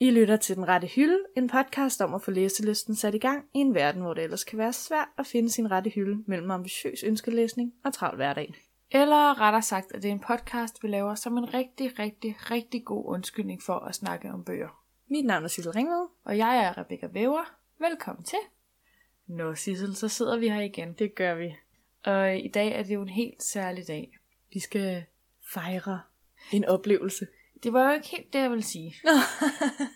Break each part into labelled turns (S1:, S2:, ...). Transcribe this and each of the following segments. S1: I lytter til Den Rette Hylde, en podcast om at få læselisten sat i gang i en verden, hvor det ellers kan være svært at finde sin rette hylde mellem ambitiøs ønskelæsning og travl hverdag.
S2: Eller rettere sagt, at det er en podcast, vi laver som en rigtig, rigtig, rigtig god undskyldning for at snakke om bøger.
S1: Mit navn er Sissel Ringved.
S2: Og jeg er Rebecca Væver. Velkommen til. Nå, Sissel, så sidder vi her igen.
S1: Det gør vi.
S2: Og i dag er det jo en helt særlig dag.
S1: Vi skal fejre en oplevelse.
S2: Det var jo ikke helt det, jeg ville sige.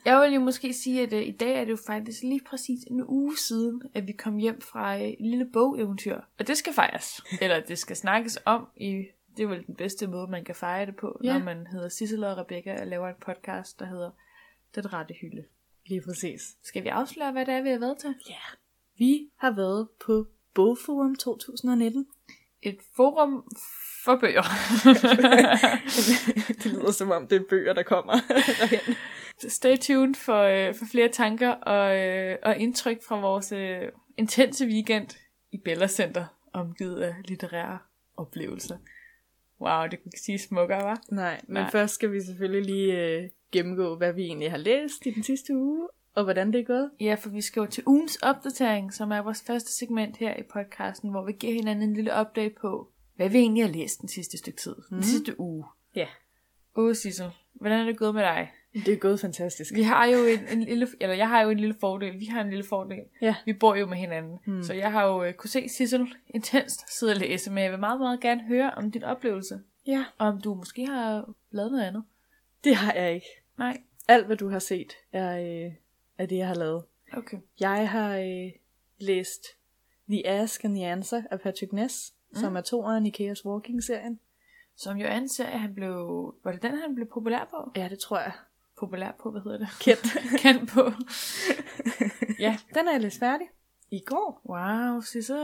S2: jeg vil jo måske sige, at øh, i dag er det jo faktisk lige præcis en uge siden, at vi kom hjem fra øh, et lille bogeventyr. Og det skal fejres. Eller det skal snakkes om i... Det er vel den bedste måde, man kan fejre det på,
S1: Ja.
S2: når man hedder Sissel og Rebecca og laver en podcast, der hedder Den Rette Hylde.
S1: Lige præcis.
S2: Skal vi afsløre, hvad det er, vi har været til?
S1: Ja. Yeah. Vi har været på Bogforum 2019.
S2: Et forum for bøger.
S1: det lyder som om, det er bøger, der kommer derhen.
S2: Stay tuned for, øh, for flere tanker og, øh, og indtryk fra vores øh, intense weekend i Bella Center, omgivet af litterære oplevelser. Wow, det kunne ikke sige smukkere, var.
S1: Nej, men
S2: Nej.
S1: først skal vi selvfølgelig lige øh, gennemgå, hvad vi egentlig har læst i den sidste uge, og hvordan det er gået.
S2: Ja, for vi skal jo til ugens opdatering, som er vores første segment her i podcasten, hvor vi giver hinanden en lille update på, hvad vi egentlig har læst den sidste stykke tid, mm. den sidste uge.
S1: Ja.
S2: Åh, Sissel, hvordan er det gået med dig?
S1: Det er gået fantastisk.
S2: Vi har jo en, en lille, eller jeg har jo en lille fordel, vi har en lille fordel.
S1: Ja.
S2: Vi bor jo med hinanden, mm. så jeg har jo øh, kunne se Sissel intenst sidde og læse, men jeg vil meget, meget gerne høre om din oplevelse,
S1: Ja.
S2: og om du måske har lavet noget andet.
S1: Det har jeg ikke.
S2: Nej,
S1: Alt, hvad du har set, er, øh, er det, jeg har lavet.
S2: okay.
S1: Jeg har øh, læst The Ask and the Answer af Patrick Ness, mm. som er toeren i Chaos Walking-serien.
S2: Som jo er en serie, han blev, var det den, han blev populær på?
S1: Ja, det tror jeg.
S2: Populær på, hvad hedder det?
S1: Kendt.
S2: Kendt på. ja.
S1: Den er jeg læst færdig. I går.
S2: Wow, Sissel.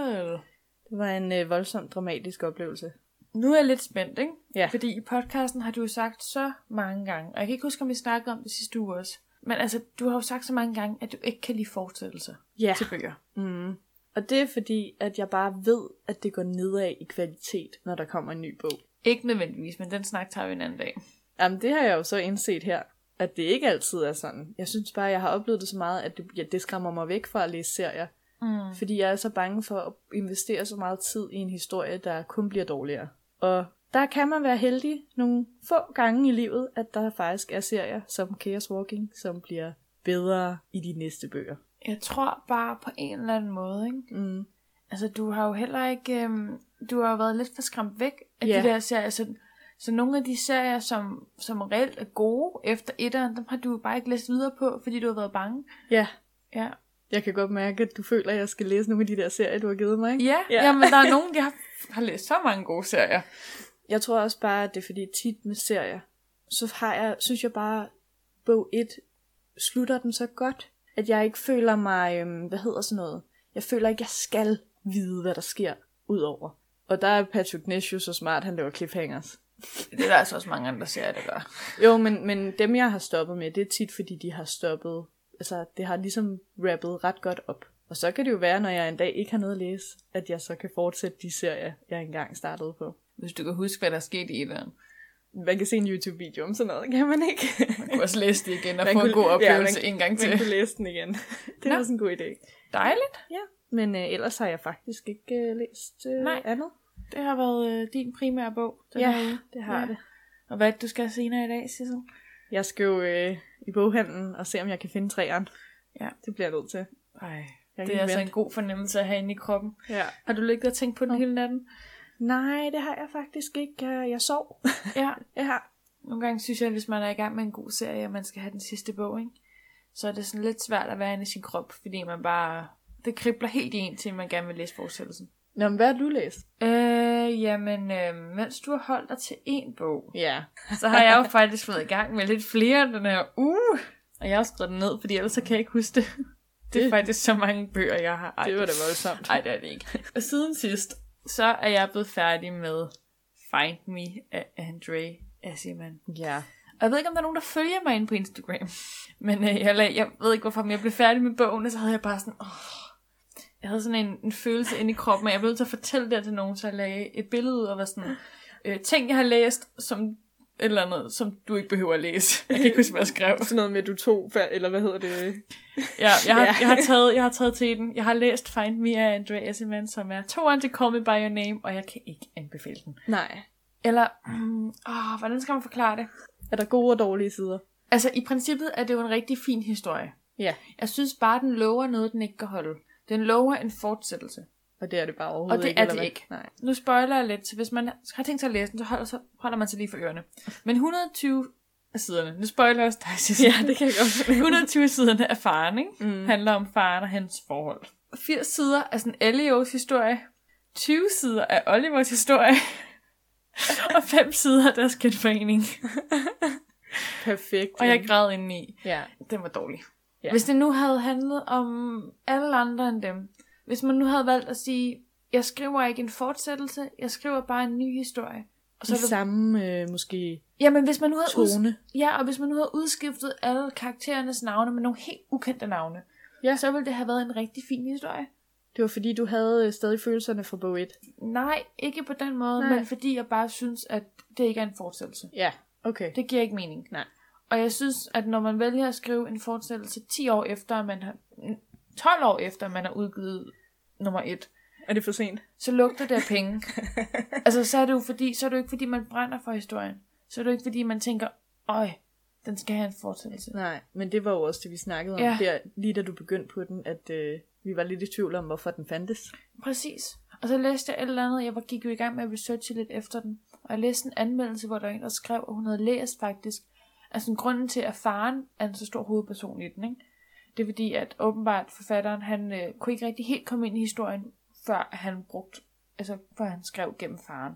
S1: Det var en øh, voldsomt dramatisk oplevelse.
S2: Nu er jeg lidt spændt, ikke?
S1: Ja.
S2: Fordi i podcasten har du jo sagt så mange gange, og jeg kan ikke huske, om vi snakkede om det sidste uge også, men altså, du har jo sagt så mange gange, at du ikke kan lide fortsættelser
S1: Ja.
S2: til bøger.
S1: Mm. Og det er fordi, at jeg bare ved, at det går nedad i kvalitet, når der kommer en ny bog.
S2: Ikke nødvendigvis, men den snak tager vi en anden dag.
S1: Jamen, det har jeg jo så indset her, at det ikke altid er sådan. Jeg synes bare, at jeg har oplevet det så meget, at det, ja, det skræmmer mig væk fra at læse serier.
S2: Mm.
S1: Fordi jeg er så bange for at investere så meget tid i en historie, der kun bliver dårligere. Og der kan man være heldig nogle få gange i livet, at der faktisk er serier som Chaos Walking, som bliver bedre i de næste bøger.
S2: Jeg tror bare på en eller anden måde, ikke?
S1: Mm.
S2: Altså, du har jo heller ikke... Øhm, du har jo været lidt for skræmt væk af
S1: Ja.
S2: de der serier. Så, så nogle af de serier, som, som reelt er gode efter etteren, dem har du jo bare ikke læst videre på, fordi du har været bange.
S1: Ja,
S2: Ja,
S1: jeg kan godt mærke, at du føler, at jeg skal læse nogle af de der serier, du har givet mig. Ikke?
S2: ja, ja. jamen der er nogen, jeg har, har læst så mange gode serier.
S1: Jeg tror også bare, at det er fordi tit med serier, så har jeg, synes jeg bare, bog 1 slutter den så godt, at jeg ikke føler mig, øhm, hvad hedder sådan noget, jeg føler ikke, jeg skal vide, hvad der sker udover. Og der er Patrick Ness jo så smart, han laver cliffhangers.
S2: Det er der altså også mange andre serier, der gør.
S1: Jo, men, men dem jeg har stoppet med, det er tit fordi de har stoppet, altså det har ligesom rappet ret godt op. Og så kan det jo være, når jeg en dag ikke har noget at læse, at jeg så kan fortsætte de serier, jeg engang startede på.
S2: Hvis du kan huske, hvad der skete i etteren.
S1: Man kan se en YouTube-video om sådan noget, kan man ikke?
S2: Man kunne også læse det igen og få en god oplevelse ja, en gang til.
S1: Man kunne læse den igen. Det
S2: Nå.
S1: var sådan en god idé.
S2: Dejligt.
S1: Ja. Men øh, ellers har jeg faktisk ikke øh, læst øh,
S2: Nej.
S1: andet.
S2: Det har været øh, din primære bog. Den
S1: Ja,
S2: her uge.
S1: det har det.
S2: Og hvad er det, du skal senere i dag, Sissel?
S1: Jeg skal jo øh, i boghandlen og se, om jeg kan finde træerne.
S2: Ja.
S1: Det bliver jeg nødt til.
S2: Ej,
S1: Jeg
S2: det
S1: kan
S2: er altså
S1: vente.
S2: en god fornemmelse at have inde i kroppen.
S1: Ja.
S2: Har du ligget og tænkt på den hele natten?
S1: Nej, det har jeg faktisk ikke. Øh, Jeg sov.
S2: Ja.
S1: ja.
S2: Nogle gange synes jeg, at hvis man er i gang med en god serie, og man skal have den sidste bog, ikke? så er det sådan lidt svært at være inde i sin krop, fordi man bare... Det kribler helt i en til, at man gerne vil læse fortsættelsen.
S1: Nå, men hvad har du læst?
S2: Øh, jamen, øh, mens du har holdt dig til en bog,
S1: Ja.
S2: så har jeg jo faktisk været i gang med lidt flere den her uge. Og jeg har skrevet den ned, fordi ellers så kan jeg ikke huske det. Det er
S1: Det-
S2: faktisk så mange bøger, jeg har. Ej,
S1: Det var da voldsomt.
S2: Nej, det er det ikke. Og siden sidst, så er jeg blevet færdig med Find Me af Andre Asiman.
S1: Ja.
S2: Og jeg ved ikke, om der er nogen, der følger mig inde på Instagram. Men øh, jeg, lag, jeg ved ikke, hvorfor, men jeg blev færdig med bogen, og så havde jeg bare sådan... Åh, jeg havde sådan en, en følelse inde i kroppen, og jeg blev nødt til at fortælle det til nogen, så jeg lagde et billede ud og var sådan... Øh, ting, jeg har læst, som et eller andet, som du ikke behøver at læse. Jeg kan ikke huske, hvad jeg skrev.
S3: Sådan noget med, at du tog, fa- eller hvad hedder det?
S2: Ja, jeg, har,
S3: Ja.
S2: jeg, har taget, jeg har taget til den. Jeg har læst Find Me af Andrea Esselman, som er toeren til Call Me By Your Name, og jeg kan ikke anbefale den.
S1: Nej.
S2: Eller, mm, åh, hvordan skal man forklare det?
S1: Er der gode og dårlige sider?
S2: Altså, i princippet er det jo en rigtig fin historie.
S1: Ja.
S2: Jeg synes bare, den lover noget, den ikke kan holde. Den lover en fortsættelse.
S1: Og det er det bare overhovedet
S2: Og det
S1: ikke.
S2: er
S1: eller
S2: det
S1: hvad?
S2: ikke.
S1: Nej.
S2: Nu spoiler jeg lidt, så hvis man har tænkt sig at læse den, så holder, så holder man sig lige for ørerne. Men 120 af siderne, nu spoiler jeg også dig, Sissel.
S1: Ja, det kan jeg godt fornemme.
S2: 120 siderne af faren, ikke?
S1: Mm.
S2: handler om faren og hans forhold. 80 sider er sådan Elios historie, 20 sider er Olivers historie, og 5 sider er deres genforening.
S1: Perfekt.
S2: Og jeg græd indeni.
S1: Ja.
S2: Den var dårlig.
S1: Ja.
S2: Ja. Mm. Hvis det nu havde handlet om alle andre end dem, hvis man nu havde valgt at sige, jeg skriver ikke en fortsættelse, jeg skriver bare en ny historie. Og
S1: Så I
S2: så det,
S1: samme øh, måske
S2: jamen, hvis man nu havde ud,
S1: tone.
S2: Ja, og hvis man nu havde udskiftet alle karakterernes navne med nogle helt ukendte navne,
S1: Ja.
S2: ja. så ville det have været en rigtig fin historie.
S1: Det var fordi, du havde øh, stadig følelserne fra bog 1.
S2: Nej, ikke på den måde,
S1: Nej.
S2: Nej. men fordi jeg bare synes, at det ikke er en fortsættelse.
S1: Ja, okay.
S2: Det giver ikke mening.
S1: Nej.
S2: Og jeg synes, at når man vælger at skrive en fortsættelse 10 år efter, at man har, 12 år efter, at man har udgivet nummer 1,
S3: Er det for sent?
S2: så lugter det af penge. altså, så er det jo fordi, så er det jo ikke fordi, man brænder for historien. Så er det jo ikke fordi, man tænker, øj, den skal have en fortsættelse.
S1: Nej, men det var jo også det, vi snakkede om ja.
S2: Ja.
S1: der, lige da du begyndte på den, at øh, vi var lidt i tvivl om, hvorfor den fandtes.
S2: Præcis. Og så læste jeg et eller andet, jeg var, gik jo i gang med at researche lidt efter den, og jeg læste en anmeldelse, hvor der var en, der skrev, at hun havde læst faktisk, altså grunden til, at faren er en så stor hovedperson i den, ikke? Det er fordi, at åbenbart forfatteren, han øh, kunne ikke rigtig helt komme ind i historien, før han brugte, altså før han skrev gennem faren.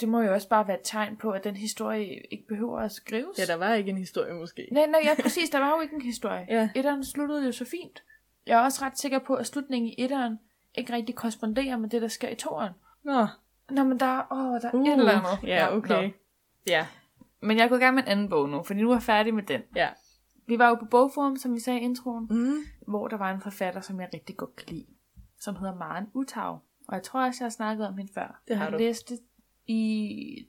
S2: Det må jo også bare være et tegn på, at den historie ikke behøver at skrives.
S1: Ja, der var ikke en historie måske.
S2: Nej, nej, ja, præcis. Der var jo ikke en historie.
S1: Ja.
S2: Etteren sluttede jo så fint. Jeg er også ret sikker på, at slutningen i etteren ikke rigtig korresponderer med det, der sker i toeren.
S1: Nå,
S2: Nå, men der, åh, der er
S1: uh,
S2: et eller andet.
S1: Ja, okay.
S2: nå.
S1: Ja,
S2: Men jeg er gået i gang med en anden bog nu, fordi nu er jeg færdig med den.
S1: ja.
S2: Vi var jo på bogforum, som vi sagde i introen,
S1: Mm.
S2: hvor der var en forfatter, som jeg rigtig godt kan lide, som hedder Maren Utau. Og jeg tror også, jeg har snakket om hende før.
S1: Det har
S2: jeg
S1: du.
S2: læste i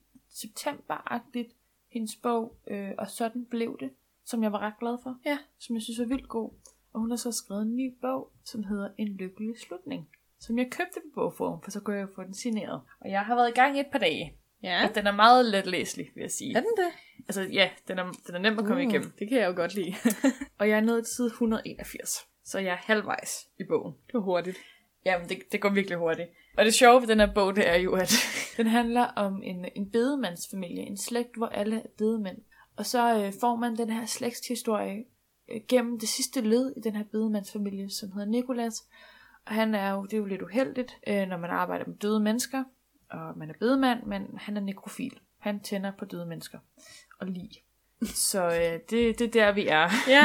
S2: september-agtigt hendes bog, øh, og sådan blev det, som jeg var ret glad for.
S1: Ja.
S2: Som jeg synes var vildt god. Og hun har så skrevet en ny bog, som hedder En lykkelig slutning. Som jeg købte på bogform, for så kunne jeg jo få den signeret. Og jeg har været i gang i et par dage.
S1: Ja.
S2: Og den er meget letlæselig, vil jeg sige.
S1: Er den det?
S2: Altså ja, den er, den er nem at komme
S1: Uh,
S2: igennem.
S1: Det kan jeg jo godt lide.
S2: Og jeg er nået til side 181. Så jeg er halvvejs i bogen.
S1: det var hurtigt.
S2: Jamen, det, det går virkelig hurtigt. Og det sjove ved den her bog, det er jo, at den handler om en, en bedemandsfamilie. En slægt, hvor alle er bedemænd. Og så øh, får man den her slægtshistorie øh, gennem det sidste led i den her bedemandsfamilie, som hedder Nikolas. Og han er jo, det er jo lidt uheldigt, øh, når man arbejder med døde mennesker. Og man er bedemand, men han er nekrofil. Han tænder på døde mennesker. Og lige. Så øh, det, det er der, vi er.
S1: Ja.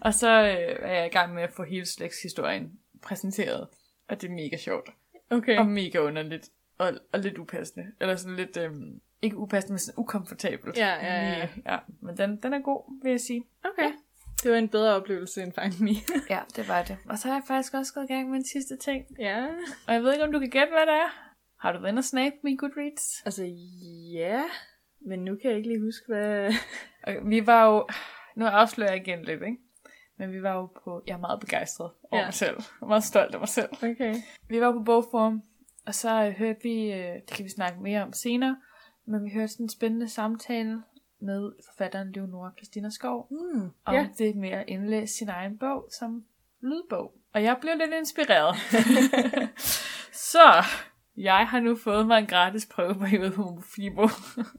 S2: Og så øh, er jeg i gang med at få hele slægtshistorien præsenteret. Og det er mega sjovt.
S1: Okay.
S2: Og mega underligt. Og, og lidt upassende. Eller sådan lidt, øhm, ikke upassende, men sådan ukomfortabelt.
S1: Ja, ja, ja.
S2: Lige- ja. Men den, den er god, vil jeg sige.
S1: Okay. Det var en bedre oplevelse end Find Me.
S2: Ja, det var det. Og så har jeg faktisk også gået i gang med en sidste ting.
S1: ja.
S2: Og jeg ved ikke, om du kan gætte, hvad det er. Har du været inde og snape min Goodreads?
S1: Altså, ja. Men nu kan jeg ikke lige huske, hvad...
S2: Okay, vi var jo... Nu afslører jeg igen lidt, ikke? Men vi var jo på... Jeg er meget begejstret
S1: Ja.
S2: over ja. mig selv. Jeg er meget stolt af mig selv.
S1: Okay.
S2: Vi var på bogforum, og så øh, hørte vi, øh, det kan vi snakke mere om senere, men vi hørte sådan en spændende samtale med forfatteren Leonora Christina Skov,
S1: Mm.
S2: om
S1: Ja.
S2: ja. det med at indlæse sin egen bog som lydbog. Og jeg blev lidt inspireret. så jeg har nu fået mig en gratis prøve på Homofibo,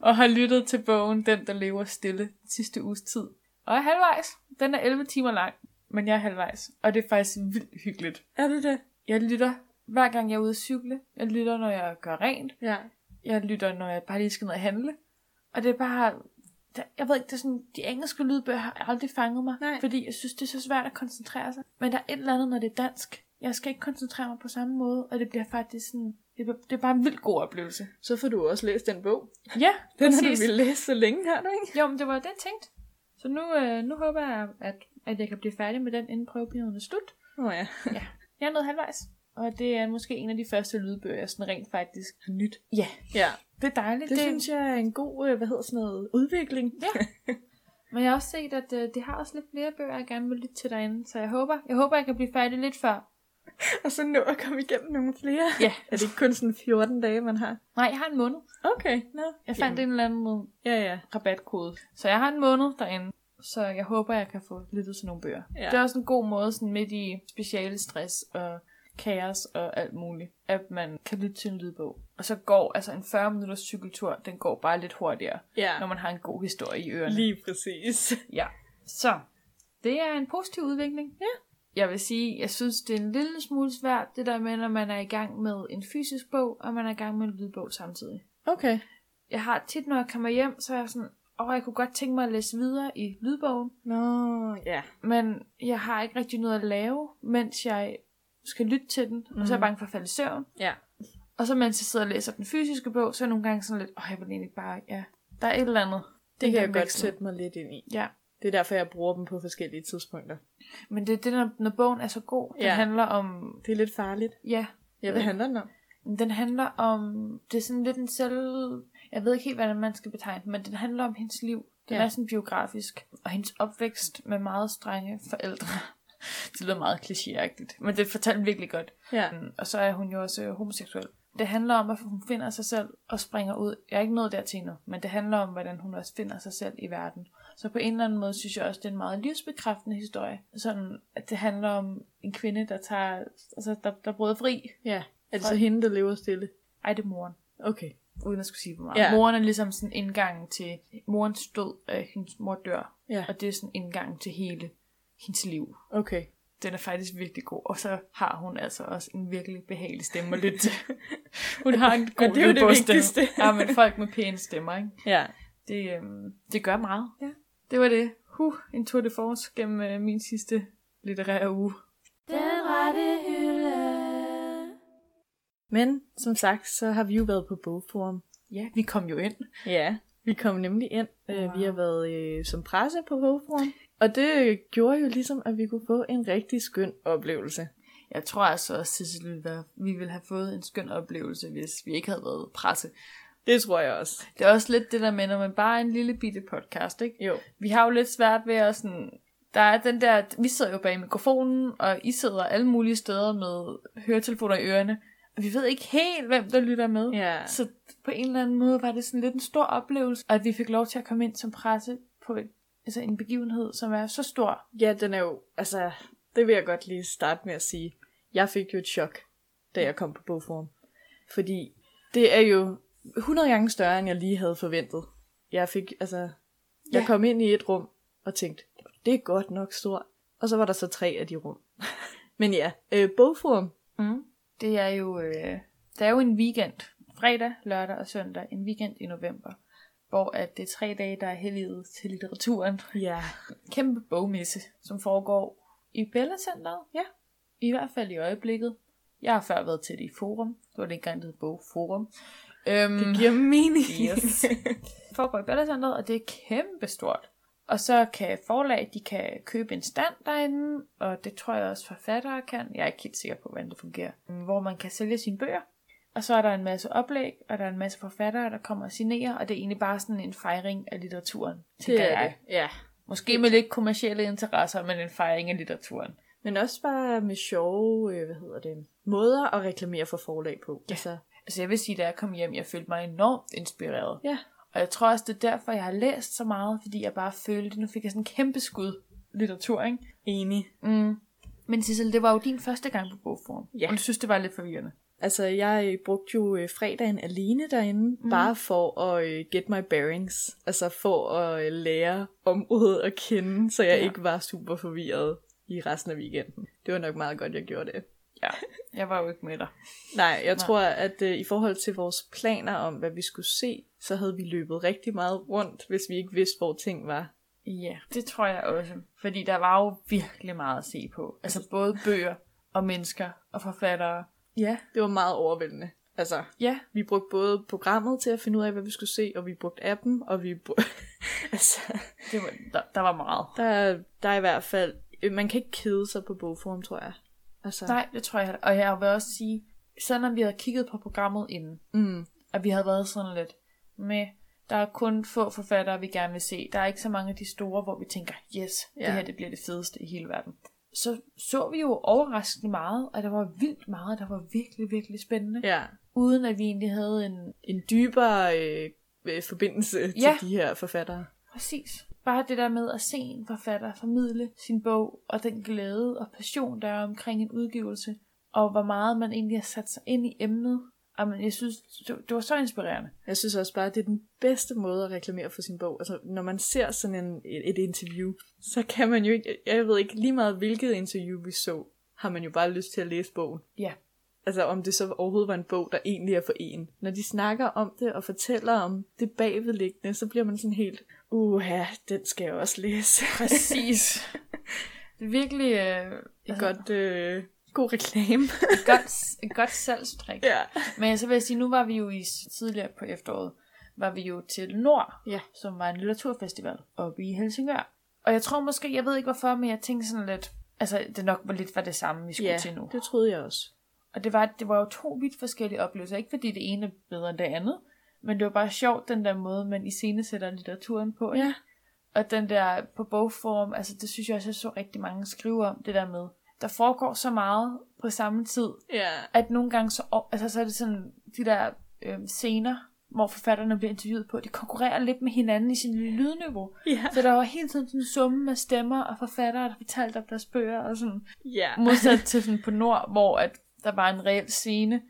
S2: og har lyttet til bogen Den, der lever stille sidste uges tid. Og er halvvejs. Den er 11 timer lang, men jeg er halvvejs. Og det er faktisk vildt hyggeligt.
S1: Er det det?
S2: Jeg lytter hver gang jeg er ude at cykle. Jeg lytter, når jeg gør rent.
S1: Ja.
S2: Jeg lytter, når jeg bare lige skal ned og handle. Og det er bare... der- Jeg ved ikke, det er sådan, de engelske lydbøger har aldrig fanget mig,
S1: Nej.
S2: fordi jeg synes, det er så svært at koncentrere sig. Men der er et eller andet, når det er dansk. Jeg skal ikke koncentrere mig på samme måde, og det bliver faktisk sådan, det, bliver- det er bare en vild god oplevelse.
S1: Så får du også læst den bog.
S2: Ja,
S1: Den har du ville læse så længe, har du ikke?
S2: Jo, men det var det, jeg tænkte. Så nu, øh, nu håber jeg, at, at jeg kan blive færdig med den, inden prøveperioden er slut.
S1: Nå oh, ja.
S2: Jeg er nået halvvejs. Og det er måske en af de første lydbøger, jeg sådan rent faktisk har nyt.
S1: Ja,
S3: Ja.
S2: Det er dejligt.
S1: det, det synes jeg er en god, øh, hvad hedder sådan noget, udvikling.
S2: Ja. Men jeg har også set, at øh, det har også lidt flere bøger, jeg gerne vil lytte til derinde. Så jeg håber, jeg håber, jeg kan blive færdig lidt før.
S1: Og så nå at komme igennem nogle flere.
S2: Ja.
S1: Er det ikke kun sådan 14 dage, man har?
S2: Nej, jeg har en måned.
S1: Okay, nå. No.
S2: Jeg fandt en eller anden
S1: Ja, ja.
S2: rabatkode. Så jeg har en måned derinde. Så jeg håber, jeg kan få lyttet til nogle bøger.
S1: Ja.
S2: Det er også en god måde, sådan midt i speciale stress og kaos og alt muligt, at man kan lytte til en lydbog. Og så går altså en 40 minutters cykeltur, den går bare lidt hurtigere,
S1: Ja,
S2: når man har en god historie i ørerne.
S3: Lige præcis.
S2: Ja, så det er en positiv udvikling. Ja. Jeg vil sige, jeg synes, det er en lille smule svært, det der med, når man er i gang med en fysisk bog, og man er i gang med en lydbog samtidig.
S1: okay.
S2: Jeg har tit, når jeg kommer hjem, så er jeg sådan, åh, jeg kunne godt tænke mig at læse videre i lydbogen,
S1: Nå, ja.
S2: men jeg har ikke rigtig noget at lave, mens jeg skal lytte til den, mm. og så er jeg bange for at falde i søvn.
S1: Ja.
S2: Og så mens jeg sidder og læser den fysiske bog, så er jeg nogle gange sådan lidt, åh, jeg vil egentlig bare, ja, der er et eller andet.
S1: Det kan jeg
S2: Den
S1: godt
S2: vekslen.
S1: sætte mig lidt ind i.
S2: Ja,
S1: Det er derfor, jeg bruger dem på forskellige tidspunkter.
S2: men det er det, når, når bogen er så god. Den
S1: Ja.
S2: handler om
S1: Det er lidt farligt.
S2: Ja,
S1: Ja, hvad handler den om?
S2: den handler om, det er sådan lidt en selv, jeg ved ikke helt, hvordan man skal betegne den, men den handler om hendes liv. Den
S1: Ja.
S2: ja. er sådan biografisk, og hendes opvækst med meget strenge forældre. det lyder meget klichéagtigt, men det fortæller den virkelig godt.
S1: Ja.
S2: Mm, Og så er hun jo også øh, homoseksuel. Det handler om, at hun finder sig selv og springer ud. Jeg er ikke nået dertil endnu, men det handler om, hvordan hun også finder sig selv i verden. Så på en eller anden måde synes jeg også, det er en meget livsbekræftende historie. Sådan, at det handler om en kvinde, der tager, altså, der, der bryder fri
S1: Ja. Er det så hende, der lever stille?
S2: ej, det er moren.
S1: Okay.
S2: Uden at skulle sige for meget.
S1: Ja.
S2: Ja. Moren er ligesom sådan indgangen til morens død, at hendes mor dør.
S1: Ja.
S2: Og det er sådan indgangen til hele hendes liv.
S1: Okay.
S2: Den er faktisk virkelig god. Og så har hun altså også en virkelig behagelig stemme at lytte til. hun har en god
S1: det er jo det
S2: lydbogstemme.
S1: vigtigste.
S2: ja, men folk med pæne stemmer, ikke?
S1: Ja.
S2: Det, øhm, det gør meget.
S1: Ja.
S2: Det var det. Huh, en tour de force gennem øh, min sidste litterære uge.
S1: Men som sagt, så har vi jo været på bogforum.
S2: Ja, vi kom jo ind.
S1: Ja. Vi kom nemlig ind. Wow.
S2: Wow.
S1: Vi har været øh, som presse på bogforum. Og det gjorde jo ligesom, at vi kunne få en rigtig skøn oplevelse.
S2: Jeg tror altså også, Sissel, ville være- vi ville have fået en skøn oplevelse, hvis vi ikke havde været presse.
S1: Det tror jeg også.
S2: Det er også lidt det der med, når man bare er en lille bitte podcast, ikke?
S1: Jo.
S2: Vi har jo lidt svært ved at sådan... Der er den der, vi sidder jo bag mikrofonen, og I sidder alle mulige steder med høretelefoner i ørerne. Og vi ved ikke helt, hvem der lytter med.
S1: Ja.
S2: Så på en eller anden måde var det sådan lidt en stor oplevelse, at vi fik lov til at komme ind som presse på et, altså en begivenhed, som er så stor.
S1: Ja, den er jo, altså, det vil jeg godt lige starte med at sige. Jeg fik jo et chok, da jeg kom på bogforum. Fordi det er jo 100 gange større, end jeg lige havde forventet. Jeg fik, altså, jeg
S2: Ja.
S1: kom ind i et rum og tænkte, det er godt nok stort. Og så var der så tre af de rum. Men ja, øh, bogforum.
S2: Mm. Det er jo øh, der er jo en weekend, fredag, lørdag og søndag, en weekend i november, hvor at det er tre dage, der er helliget til litteraturen.
S1: Ja.
S2: Kæmpe bogmesse, som foregår i Bella Centeret.
S1: Ja.
S2: I hvert fald i øjeblikket. Jeg har før været til det i Forum. Det var dengang, det hed Bogforum. Øhm,
S1: Det giver mening.
S2: Yes. Det foregår i Bella Centeret, og det er kæmpestort. Og så kan forlag, de kan købe en stand derinde, og det tror jeg også forfattere kan. Jeg er ikke helt sikker på, hvordan det fungerer. Mm, Hvor man kan sælge sine bøger, og så er der en masse oplæg, og der er en masse forfattere, der kommer og signerer, og det er egentlig bare sådan en fejring af litteraturen, tænker
S1: det er det.
S2: jeg.
S1: Ja.
S2: Måske med lidt kommercielle interesser, men en fejring af litteraturen.
S1: Men også bare med sjove, øh, hvad hedder det, måder at reklamere for forlag på.
S2: Ja.
S1: Altså,
S2: Altså jeg vil sige, da jeg kom hjem, jeg følte mig enormt inspireret.
S1: ja.
S2: Og jeg tror også, det er derfor, jeg har læst så meget, fordi jeg bare følte, nu fik jeg sådan en kæmpe skud litteratur, ikke?
S1: Enig.
S2: Mm. Men Sissel, det var jo din første gang på bogform.
S1: Ja.
S2: Og du synes, det var lidt forvirrende.
S1: Altså, jeg brugte jo øh, fredagen alene derinde, mm. bare for at øh, get my bearings. Altså for at øh, lære området at kende, så jeg ja.
S2: Ja.
S1: ikke var super forvirret i resten af weekenden. Det var nok meget godt, jeg gjorde det.
S2: Ja, jeg var jo ikke med dig.
S1: Nej, jeg Nej. tror, at øh, i forhold til vores planer om, hvad vi skulle se, så havde vi løbet rigtig meget rundt, hvis vi ikke vidste, hvor ting var.
S2: Ja, det tror jeg også. Fordi der var jo virkelig meget at se på. Altså både bøger og mennesker og forfattere. Ja.
S1: Det var meget overvældende. Altså,
S2: Ja,
S1: vi brugte både programmet til at finde ud af, hvad vi skulle se, og vi brugte appen, og vi brugte... altså...
S2: det var, der, der var meget.
S1: Der, er- der er i hvert fald... øh, Man kan ikke kede sig på bogforum, tror jeg. Altså,
S2: Nej, det tror jeg heller. Og jeg vil også sige, selvom vi havde kigget på programmet inden,
S1: Mm,
S2: at vi havde været sådan lidt med, der er kun få forfattere, vi gerne vil se. Der er ikke så mange af de store, hvor vi tænker, yes, ja.
S1: Ja.
S2: det her det bliver det fedeste i hele verden. Så så vi jo overraskende meget, og der var vildt meget, der var virkelig, virkelig spændende.
S1: ja.
S2: Uden at vi egentlig havde en...
S1: En dybere øh, øh, forbindelse
S2: Ja.
S1: til de her forfattere.
S2: Præcis. Bare det der med at se en forfatter formidle sin bog, og den glæde og passion, der er omkring en udgivelse, og hvor meget man egentlig har sat sig ind i emnet. Jamen, jeg synes, det det var så inspirerende.
S1: Jeg synes også bare, at det er den bedste måde at reklamere for sin bog. Altså, når man ser sådan en, et, et interview, så kan man jo ikke, jeg ved ikke lige meget, hvilket interview vi så, har man jo bare lyst til at læse bogen.
S2: Ja,
S1: Altså, om det så overhovedet var en bog, der egentlig er for en. Når de snakker om det og fortæller om det bagvedliggende, så bliver man sådan helt, uha, den skal jeg også læse.
S2: præcis. det er virkelig øh,
S1: Et godt, øh, god reklame.
S2: et godt, et godt salgstrik.
S1: ja.
S2: Men så vil jeg sige, nu var vi jo i tidligere på efteråret, var vi jo til Nord,
S1: Ja.
S2: som var en litteraturfestival oppe i Helsingør. Og jeg tror måske, jeg ved ikke hvorfor, men jeg tænkte sådan lidt, altså det nok var lidt var det samme, vi skulle
S1: ja,
S2: til nu.
S1: det troede jeg også.
S2: Og det var, det var jo to vidt forskellige oplevelser, ikke fordi det ene er bedre end det andet, men det var bare sjovt, den der måde, man i scene sætter litteraturen på. ikke?
S1: Ja.
S2: Og den der på bogform, altså det synes jeg også, jeg så rigtig mange skrive om, det der med, der foregår så meget på samme tid,
S1: Ja.
S2: at nogle gange så, altså, så er det sådan, de der øh, scener, hvor forfatterne bliver interviewet på, de konkurrerer lidt med hinanden i sin lydniveau.
S1: Ja.
S2: Så der var hele tiden sådan en summe af stemmer og forfattere, der fortalte om deres bøger, og sådan
S1: Ja.
S2: modsat til sådan på Nord, hvor at der var en reel scene,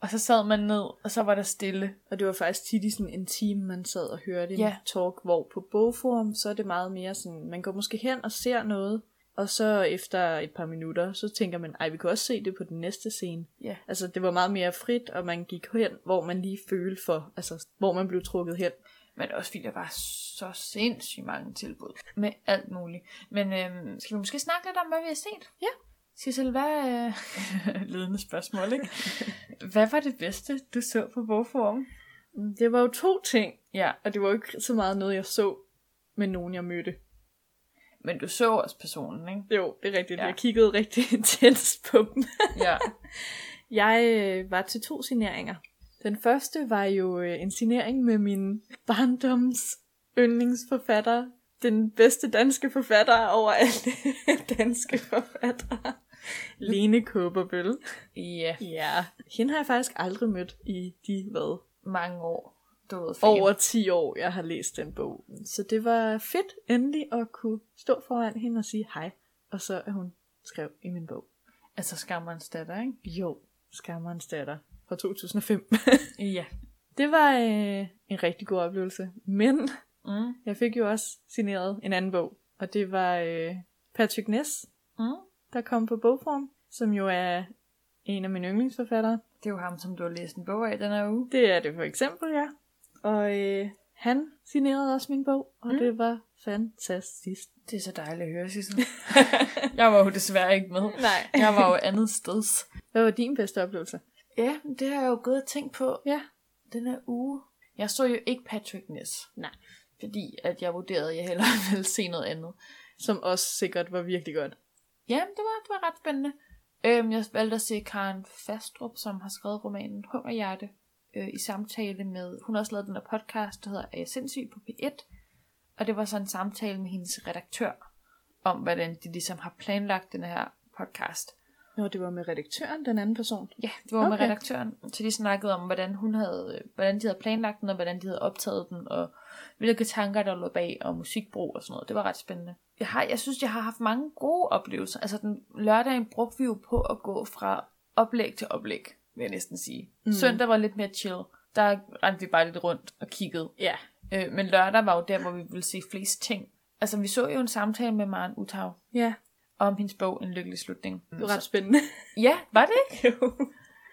S2: og så sad man ned, og så var der stille.
S1: Og det var faktisk tit i sådan en time, man sad og hørte en
S2: Ja.
S1: talk, hvor på bogforum, så er det meget mere sådan, man går måske hen og ser noget, og så efter et par minutter, så tænker man, ej, vi kan også se det på den næste scene.
S2: Ja.
S1: Altså, det var meget mere frit, og man gik hen, hvor man lige følte for, altså, hvor man blev trukket hen.
S2: Men også fordi der var så sindssygt mange tilbud med alt muligt. Men øhm, skal vi måske snakke lidt om, hvad vi har set?
S1: Ja.
S2: Skal selv være øh, ledende spørgsmål, ikke? hvad var det bedste, du så på bogforum?
S1: Mm, Det var jo to ting,
S2: Ja,
S1: og det var jo ikke så meget noget, jeg så, men nogen, jeg mødte.
S2: men du så også personen, ikke?
S1: Jo, det er rigtigt.
S2: Ja.
S1: Ja. Jeg kiggede rigtig intens på dem.
S2: Ja.
S1: Jeg øh, var til to signeringer. Den første var jo øh, en signering med min barndoms yndlingsforfatter. Den bedste danske forfatter over alle danske forfattere. Lene Kåberbøl.
S2: Ja,
S1: Ja. Hende har jeg faktisk aldrig mødt i de, hvad,
S2: mange år. Du ved, fan.
S1: over 10 år, jeg har læst den bog. Så det var fedt endelig at kunne stå foran hende og sige hej. Og så er hun skrev i min bog.
S2: Altså skammerens datter, ikke?
S1: Jo, Skammerens datter fra 2005.
S2: Ja.
S1: Det var øh, en rigtig god oplevelse. Men
S2: Mm.
S1: jeg fik jo også signeret en anden bog, og det var øh, Patrick Ness,
S2: Mm.
S1: der kom på bogform, som jo er en af mine yndlingsforfattere.
S2: Det er jo ham, som du har læst en bog af den her uge.
S1: Det er det for eksempel, ja. Og øh, han signerede også min bog, og
S2: Mm.
S1: mm. det var fantastisk.
S2: Det er så dejligt at høre, Sissel. jeg var jo desværre ikke med.
S1: Nej.
S2: Jeg var jo andet steds.
S1: Hvad var din bedste oplevelse?
S2: Ja, men det har jeg jo gået og tænkt på
S1: Ja.
S2: den her uge. Jeg så jo ikke Patrick Ness.
S1: Nej.
S2: Fordi at jeg vurderede, at jeg hellere ville se noget andet.
S1: Som også sikkert var virkelig godt.
S2: Ja, det var, det var ret spændende. Øhm, jeg valgte at se Karen Fastrup, som har skrevet romanen Hungerhjerte, øh, i samtale med... Hun har også lavet den her podcast, der hedder Er jeg sindssyg på P1? Og det var så en samtale med hendes redaktør, om hvordan de ligesom har planlagt den her podcast.
S1: Nå, det var med redaktøren, den anden person.
S2: Ja, det var okay. med
S1: Okay.
S2: redaktøren. Så de snakkede om, hvordan hun havde, hvordan de havde planlagt den, og hvordan de havde optaget den, og hvilke tanker, der lå bag, og musikbrug og sådan noget. Det var ret spændende. Jeg, har, jeg synes, jeg har haft mange gode oplevelser. Altså, den lørdagen brugte vi jo på at gå fra oplæg til oplæg, vil jeg næsten sige. Mm. Søndag var lidt mere chill. Der rendte vi bare lidt rundt og kiggede.
S1: Ja.
S2: Øh, men lørdag var jo der, hvor vi ville se flest ting. Altså, vi så jo en samtale med Maren Utav
S1: Ja,
S2: om hendes bog En Lykkelig Slutning.
S1: det var ret spændende.
S2: Ja, var det ikke?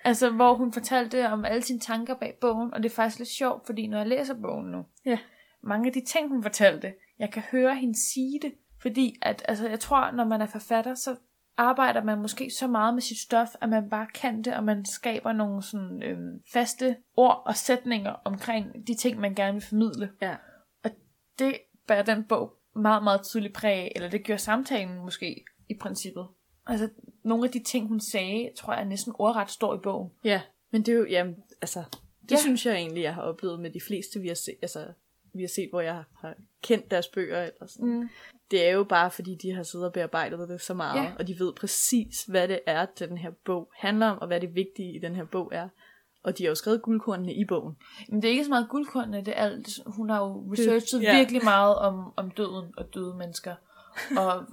S2: Altså, hvor hun fortalte om alle sine tanker bag bogen, og det er faktisk lidt sjovt, fordi når jeg læser bogen nu,
S1: ja.
S2: mange af de ting, hun fortalte, jeg kan høre hende sige det, fordi at, altså, jeg tror, når man er forfatter, så arbejder man måske så meget med sit stof, at man bare kan det, og man skaber nogle sådan, øhm, faste ord og sætninger omkring de ting, man gerne vil formidle.
S1: Ja.
S2: Og det bærer den bog meget, meget tydeligt præg af, eller det gjorde samtalen måske i princippet. Altså, nogle af de ting, hun sagde, tror jeg næsten ordret står i bogen.
S1: Ja, men det er jo, jamen, altså, det
S2: Ja.
S1: ja. synes jeg egentlig, jeg har oplevet med de fleste, vi har set, altså, vi har set, hvor jeg har kendt deres bøger eller sådan.
S2: Mm.
S1: Det er jo bare, fordi de har siddet og bearbejdet det så meget,
S2: Ja.
S1: ja. og de ved præcis, hvad det er, den her bog handler om, og hvad det vigtige i den her bog er. Og de har jo skrevet guldkornene i bogen.
S2: Men det er ikke så meget guldkornene, det er alt. Hun har jo researchet
S3: ja.
S2: virkelig meget om, om døden og døde mennesker. Og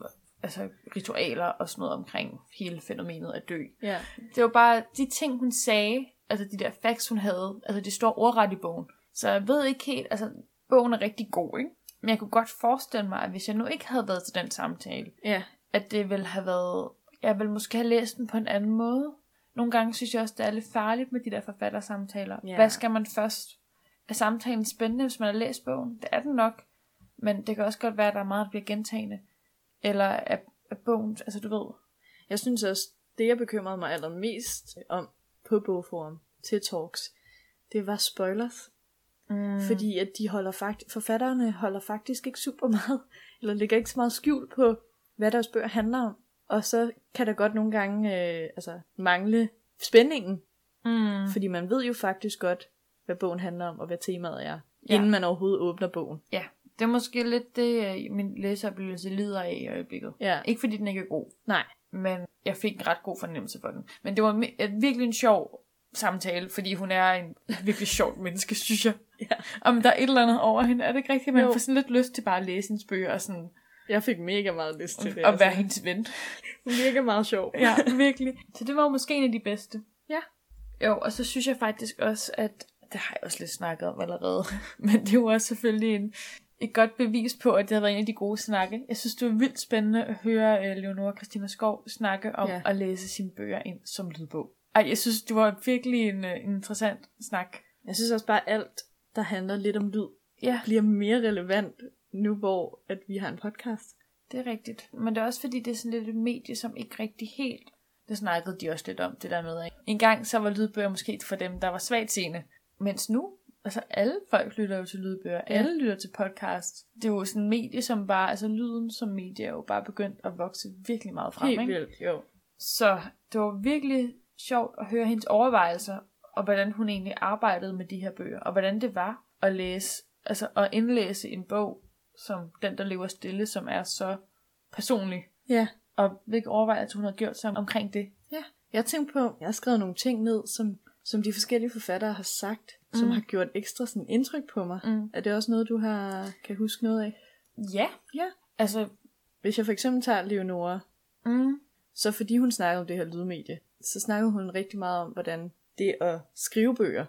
S2: altså ritualer og sådan noget omkring hele fænomenet at dø.
S1: Ja.
S2: Det var bare de ting, hun sagde, altså de der facts, hun havde, altså de står ordret i bogen. Så jeg ved ikke helt, altså bogen er rigtig god, ikke? Men jeg kunne godt forestille mig, at hvis jeg nu ikke havde været til den samtale,
S1: Ja.
S2: at det ville have været... Jeg ville måske have læst den på en anden måde. Nogle gange synes jeg også, det er lidt farligt med de der forfattersamtaler.
S1: Ja.
S2: Hvad skal man først? Er samtalen spændende, hvis man har læst bogen? Det er den nok. Men det kan også godt være, at der er meget, der bliver gentagende. Eller at, at bogen... Altså du ved...
S1: Jeg synes også, det jeg bekymrede mig allermest om på Bogforum til Talks, det var spoilers.
S2: Mm.
S1: Fordi at de holder fakt- forfatterne holder faktisk ikke super meget, eller lægger ikke så meget skjul på, hvad deres bøger handler om. Og så kan der godt nogle gange øh, altså, mangle spændingen,
S2: Mm.
S1: fordi man ved jo faktisk godt, hvad bogen handler om, og hvad temaet er,
S2: Ja.
S1: ja. inden man overhovedet åbner bogen.
S2: Ja, det er måske lidt det, øh, min læseoplevelse lider af i øjeblikket.
S1: Ja.
S2: Ikke fordi den ikke er god,
S1: Nej.
S2: men jeg fik en ret god fornemmelse for den. Men det var mi- øh, virkelig en sjov samtale, fordi hun er en virkelig sjov menneske, synes jeg.
S1: Ja.
S2: Om der er et eller andet over hende, er det ikke rigtigt? Man jo.
S1: Jo.
S2: får sådan lidt lyst til bare at læse hendes bøger og sådan,
S1: Jeg fik mega meget lyst til det.
S2: og være hendes ven.
S1: Hun virker meget sjov.
S2: Ja, virkelig. Så det var jo måske en af de bedste.
S1: Ja.
S2: Jo, og så synes jeg faktisk også, at det har jeg også lidt snakket om allerede, men det er jo også selvfølgelig en, et godt bevis på, at det har været en af de gode snakke. Jeg synes, det var vildt spændende at høre øh, Leonora Christina Skov snakke om ja.
S1: Ja.
S2: at læse sine bøger ind som lydbog. Ej, jeg synes, det var virkelig en, øh, en interessant snak.
S1: Jeg synes også bare, at alt, der handler lidt om lyd,
S2: Ja,
S1: bliver mere relevant nu, hvor at vi har en podcast.
S2: det er rigtigt. Men det er også fordi, det er sådan lidt et medie, som ikke rigtig helt... Det snakkede de også lidt om, det der med. Ikke? En gang så var lydbøger måske for dem, der var svagt seende. Mens nu, altså alle folk lytter jo til lydbøger. Ja. Alle lytter til podcast. Det er jo sådan en medie, som bare... Altså lyden som medie er jo bare begyndt at vokse virkelig meget frem.
S1: Helt
S2: ikke?
S1: vildt, jo.
S2: Så det var virkelig sjovt at høre hendes overvejelser, og hvordan hun egentlig arbejdede med de her bøger, og hvordan det var at læse, altså at indlæse en bog, som den, der lever stille, som er så personlig,
S1: Ja.
S2: og hvilke overvejelser hun har gjort sig omkring det.
S1: Ja, jeg tænkte på, jeg har skrevet nogle ting ned, som, som de forskellige forfattere har sagt, mm. som har gjort ekstra sådan indtryk på mig.
S2: Mm.
S1: Er det også noget, du har, kan huske noget af?
S2: Ja,
S1: Ja.
S2: altså,
S1: Hvis jeg for eksempel tager Leonora,
S2: mm,
S1: så fordi hun snakkede om det her lydmedie, så snakkede hun rigtig meget om, hvordan det at skrive bøger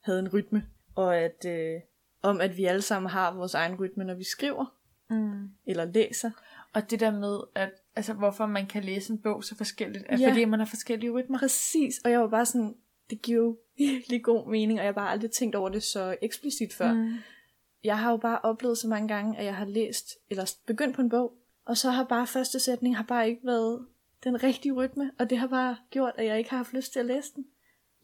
S1: havde en rytme, og at, øh, om at vi alle sammen har vores egen rytme, når vi skriver
S2: mm.
S1: eller læser.
S2: og det der med, at altså, hvorfor man kan læse en bog så forskelligt, er ja.
S1: Ja.
S2: fordi man har forskellige rytmer.
S1: Præcis, og jeg var bare sådan, det giver jo virkelig god mening, og jeg har bare aldrig tænkt over det så eksplicit før. Mm. Jeg har jo bare oplevet så mange gange, at jeg har læst, eller begyndt på en bog, og så har bare første sætning har bare ikke været den rigtige rytme, og det har bare gjort, at jeg ikke har haft lyst til at læse den.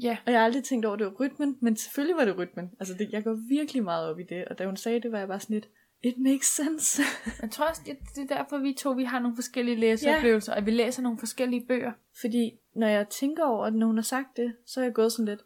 S2: Ja,
S1: Og jeg har aldrig tænkt over, at det var rytmen, men selvfølgelig var det rytmen. Altså, det, jeg går virkelig meget op i det, og da hun sagde det, var jeg bare sådan lidt, it makes sense.
S2: jeg tror også, det det er derfor, vi to vi har nogle forskellige læseoplevelser, og vi læser nogle forskellige bøger.
S1: Fordi når jeg tænker over det, når hun har sagt det, så er jeg gået sådan lidt,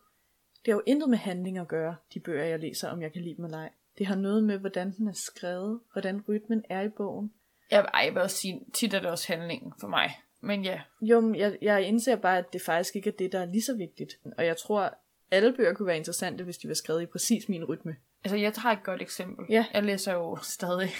S1: det har jo intet med handling at gøre, de bøger, jeg læser, om jeg kan lide dem eller ej. Det har noget med, hvordan den er skrevet, hvordan rytmen er i bogen.
S2: Jeg, ej, jeg vil også sige, tit er det også handlingen for mig. Men ja,
S1: Jo, men jeg, jeg indser bare, at det faktisk ikke er det, der er lige så vigtigt. Og jeg tror, alle bøger kunne være interessante, hvis de var skrevet i præcis min rytme.
S2: altså jeg tager et godt eksempel.
S1: Ja.
S2: Jeg læser jo stadig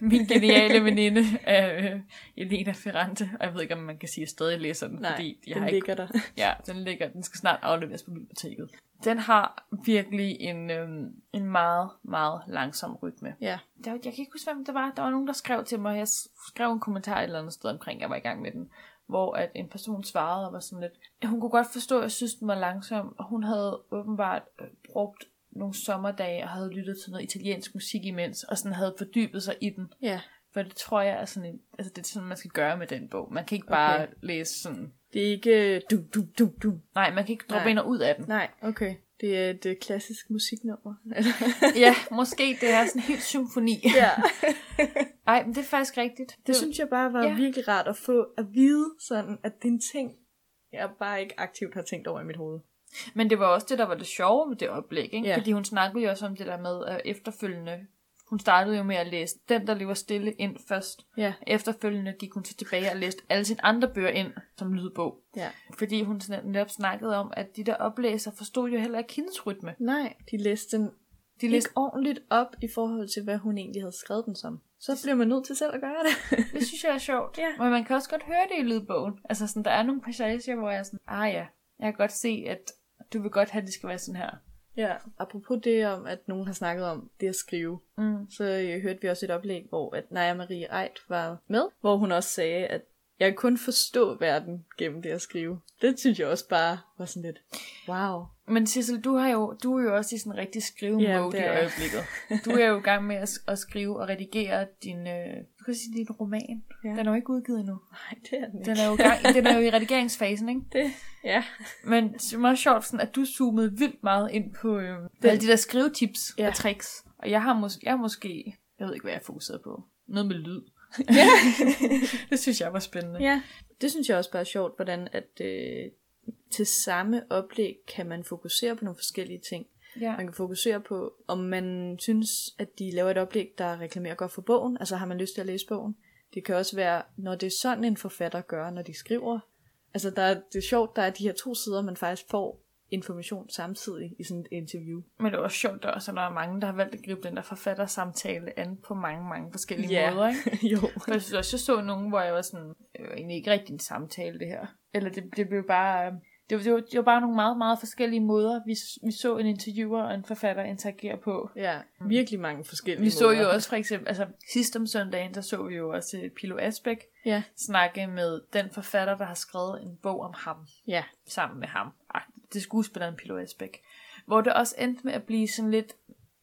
S2: min geniale veninde af øh, Elena Ferrante. Og jeg ved ikke, om man kan sige, at jeg stadig læser den,
S1: Nej,
S2: fordi jeg
S1: den
S2: har ikke...
S1: ligger der.
S2: Ja, den ligger. Den skal snart afleveres på biblioteket. Den har virkelig en, øhm, en meget, meget langsom rytme.
S1: ja.
S2: Der, jeg kan ikke huske, hvem det var. Der var nogen, der skrev til mig. Jeg s- skrev en kommentar et eller andet sted omkring, at jeg var i gang med den. Hvor at en person svarede og var sådan lidt... at Hun kunne godt forstå, at jeg synes, den var langsom. Og hun havde åbenbart øh, brugt nogle sommerdage og havde lyttet til noget italiensk musik imens. Og sådan havde fordybet sig i den.
S1: Ja.
S2: For det tror jeg er sådan en... Altså det er sådan, man skal gøre med den bog. Man kan ikke bare
S1: Okay.
S2: okay. læse sådan...
S1: Det er ikke øh, du, du, du, du.
S2: Nej, man kan ikke droppe
S1: Nej.
S2: ind og ud af den.
S1: Nej, okay. Det er et øh, klassisk musiknummer.
S2: ja, måske det er sådan en helt symfoni.
S1: ja.
S2: Ej, men det er faktisk rigtigt.
S1: Det synes jeg bare var
S2: Ja.
S1: ja. virkelig rart at få at vide sådan, at det er en ting, jeg bare ikke aktivt har tænkt over i mit hoved.
S2: Men det var også det, der var det sjove ved det oplæg, ikke?
S1: Ja.
S2: Fordi hun snakkede jo også om det der med at efterfølgende... Hun startede jo med at læse Den, der lever stille ind først.
S1: Ja.
S2: Efterfølgende gik hun så tilbage og læste alle sine andre bøger ind som lydbog.
S1: Ja.
S2: Fordi hun sådan netop snakkede om, at de der oplæser forstod jo heller ikke hendes rytme.
S1: Nej, de læste den
S2: De
S1: læste
S2: læste,
S1: ikke ordentligt op i forhold til, hvad hun egentlig havde skrevet den som. Så bliver man nødt til selv at gøre det.
S2: det synes jeg er sjovt.
S1: Ja.
S2: Men man kan også godt høre det i lydbogen. Altså sådan, der er nogle passager, hvor jeg er sådan, ah ja, jeg kan godt se, at du vil godt have, at det skal være sådan her.
S1: ja. Apropos det om, at nogen har snakket om det at skrive,
S2: Mm.
S1: så øh, hørte vi også et oplæg, hvor at Naja Marie Eit var med, hvor hun også sagde, at jeg kan kun forstå verden gennem det at skrive. Det synes jeg også bare var sådan lidt, wow.
S2: Men Sissel, du, har jo, du er jo også i sådan en rigtig skrivemode
S1: Ja,
S2: ja,
S1: det
S2: i
S1: er jeg.
S2: øjeblikket. Du er jo i gang med at, at skrive og redigere din, øh, du kan sige, din roman. Ja.
S1: Ja.
S2: Den er jo ikke udgivet endnu.
S1: Nej, det er den ikke.
S2: Den er jo, i gang, den er jo i redigeringsfasen, ikke?
S1: Det, ja.
S2: Men det er meget sjovt, sådan, at du zoomede vildt meget ind på øh, alle de der skrivetips ja.
S1: Ja.
S2: og tricks. Og jeg har, mås- jeg har måske, jeg ved ikke, hvad jeg fokuserede på. Noget med lyd. det synes jeg var spændende.
S1: ja. Det synes jeg også bare er sjovt, hvordan at øh, til samme oplæg kan man fokusere på nogle forskellige ting.
S2: Ja.
S1: Man kan fokusere på, om man synes, at de laver et oplæg, der reklamerer godt for bogen. Altså har man lyst til at læse bogen. Det kan også være, når det er sådan en forfatter gør, når de skriver. Altså der er, det er sjovt, der er de her to sider, man faktisk får information samtidig i sådan et interview.
S2: Men det er også sjovt, der er også, at der er mange, der har valgt at gribe den der forfattersamtale an på mange, mange forskellige
S1: Ja.
S2: måder. Ikke?
S1: jo.
S2: For jeg synes også, jeg så nogen, hvor jeg var sådan, det var egentlig ikke rigtig en samtale, det her. Eller det, det blev bare... øh, Det var, det, var, det var bare nogle meget, meget forskellige måder, vi, s- vi så en interviewer og en forfatter interagere på.
S1: Ja, virkelig mange forskellige
S2: Vi så
S1: måder.
S2: jo også for eksempel, altså sidste om søndagen, der så vi jo også øh, Pilo Asbæk
S1: Ja,
S2: snakke med den forfatter, der har skrevet en bog om ham
S1: ja.
S2: sammen med ham. Ah, det er skuespilleren Pilo Asbæk. Hvor det også endte med at blive sådan lidt...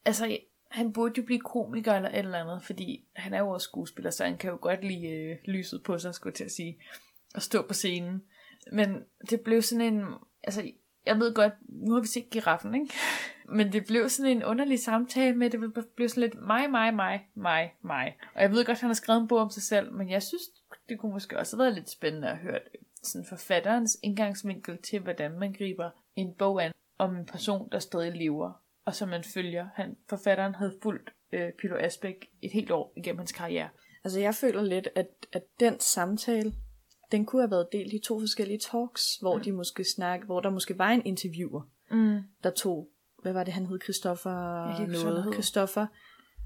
S2: Altså, han burde jo blive komiker eller et eller andet, fordi han er jo også skuespiller, så han kan jo godt lide øh, lyset på sig, skulle jeg til at sige, og stå på scenen. Men det blev sådan en... Altså, jeg ved godt, nu har vi set giraffen, ikke? Men det blev sådan en underlig samtale med, det blev sådan lidt mig, mig, mig, mig, mig. Og jeg ved godt, han har skrevet en bog om sig selv, men jeg synes, det kunne måske også have været lidt spændende at høre sådan forfatterens indgangsvinkel til, hvordan man griber en bog an om en person, der stadig lever, og som man følger. Han, forfatteren havde fulgt øh, Pilo Asbæk et helt år igennem hans karriere.
S1: Altså jeg føler lidt, at, at den samtale, den kunne have været delt i to forskellige talks, hvor, de måske snak, hvor der måske var en interviewer,
S2: Mm.
S1: der tog, hvad var det han hed, Christoffer
S2: Jeg kan ikke huske, hvad han hed.
S1: noget, Christoffer,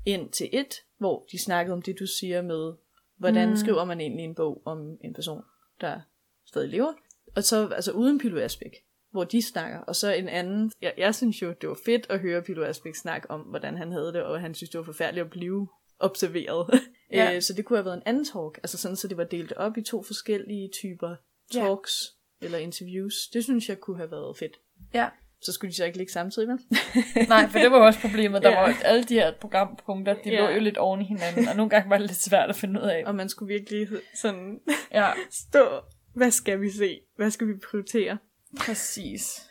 S1: ind til et, hvor de snakkede om det, du siger med, hvordan
S2: Mm.
S1: mm. skriver man egentlig en bog om en person, der stadig lever. Og så altså uden Pilo Asbæk, hvor de snakker, og så en anden. Jeg, jeg synes jo, det var fedt at høre Pilo Asbæk snakke om, hvordan han havde det, og han synes, det var forfærdeligt at blive observeret.
S2: Ja.
S1: Ja. Øh, så det kunne have været en anden talk, altså sådan, så det var delt op i to forskellige typer
S2: Ja.
S1: talks ja. eller interviews. Det synes jeg kunne have været fedt.
S2: Ja.
S1: Så skulle de så ikke ligge samtidig med.
S2: Nej, for det var jo også problemet. Der
S1: Ja.
S2: var jo- alle de her programpunkter, de
S1: Ja.
S2: lå jo lidt oven i hinanden, og nogle gange var det lidt svært at finde ud af.
S1: og man skulle virkelig sådan
S2: Ja,
S1: stå, hvad skal vi se? Hvad skal vi prioritere?
S2: præcis.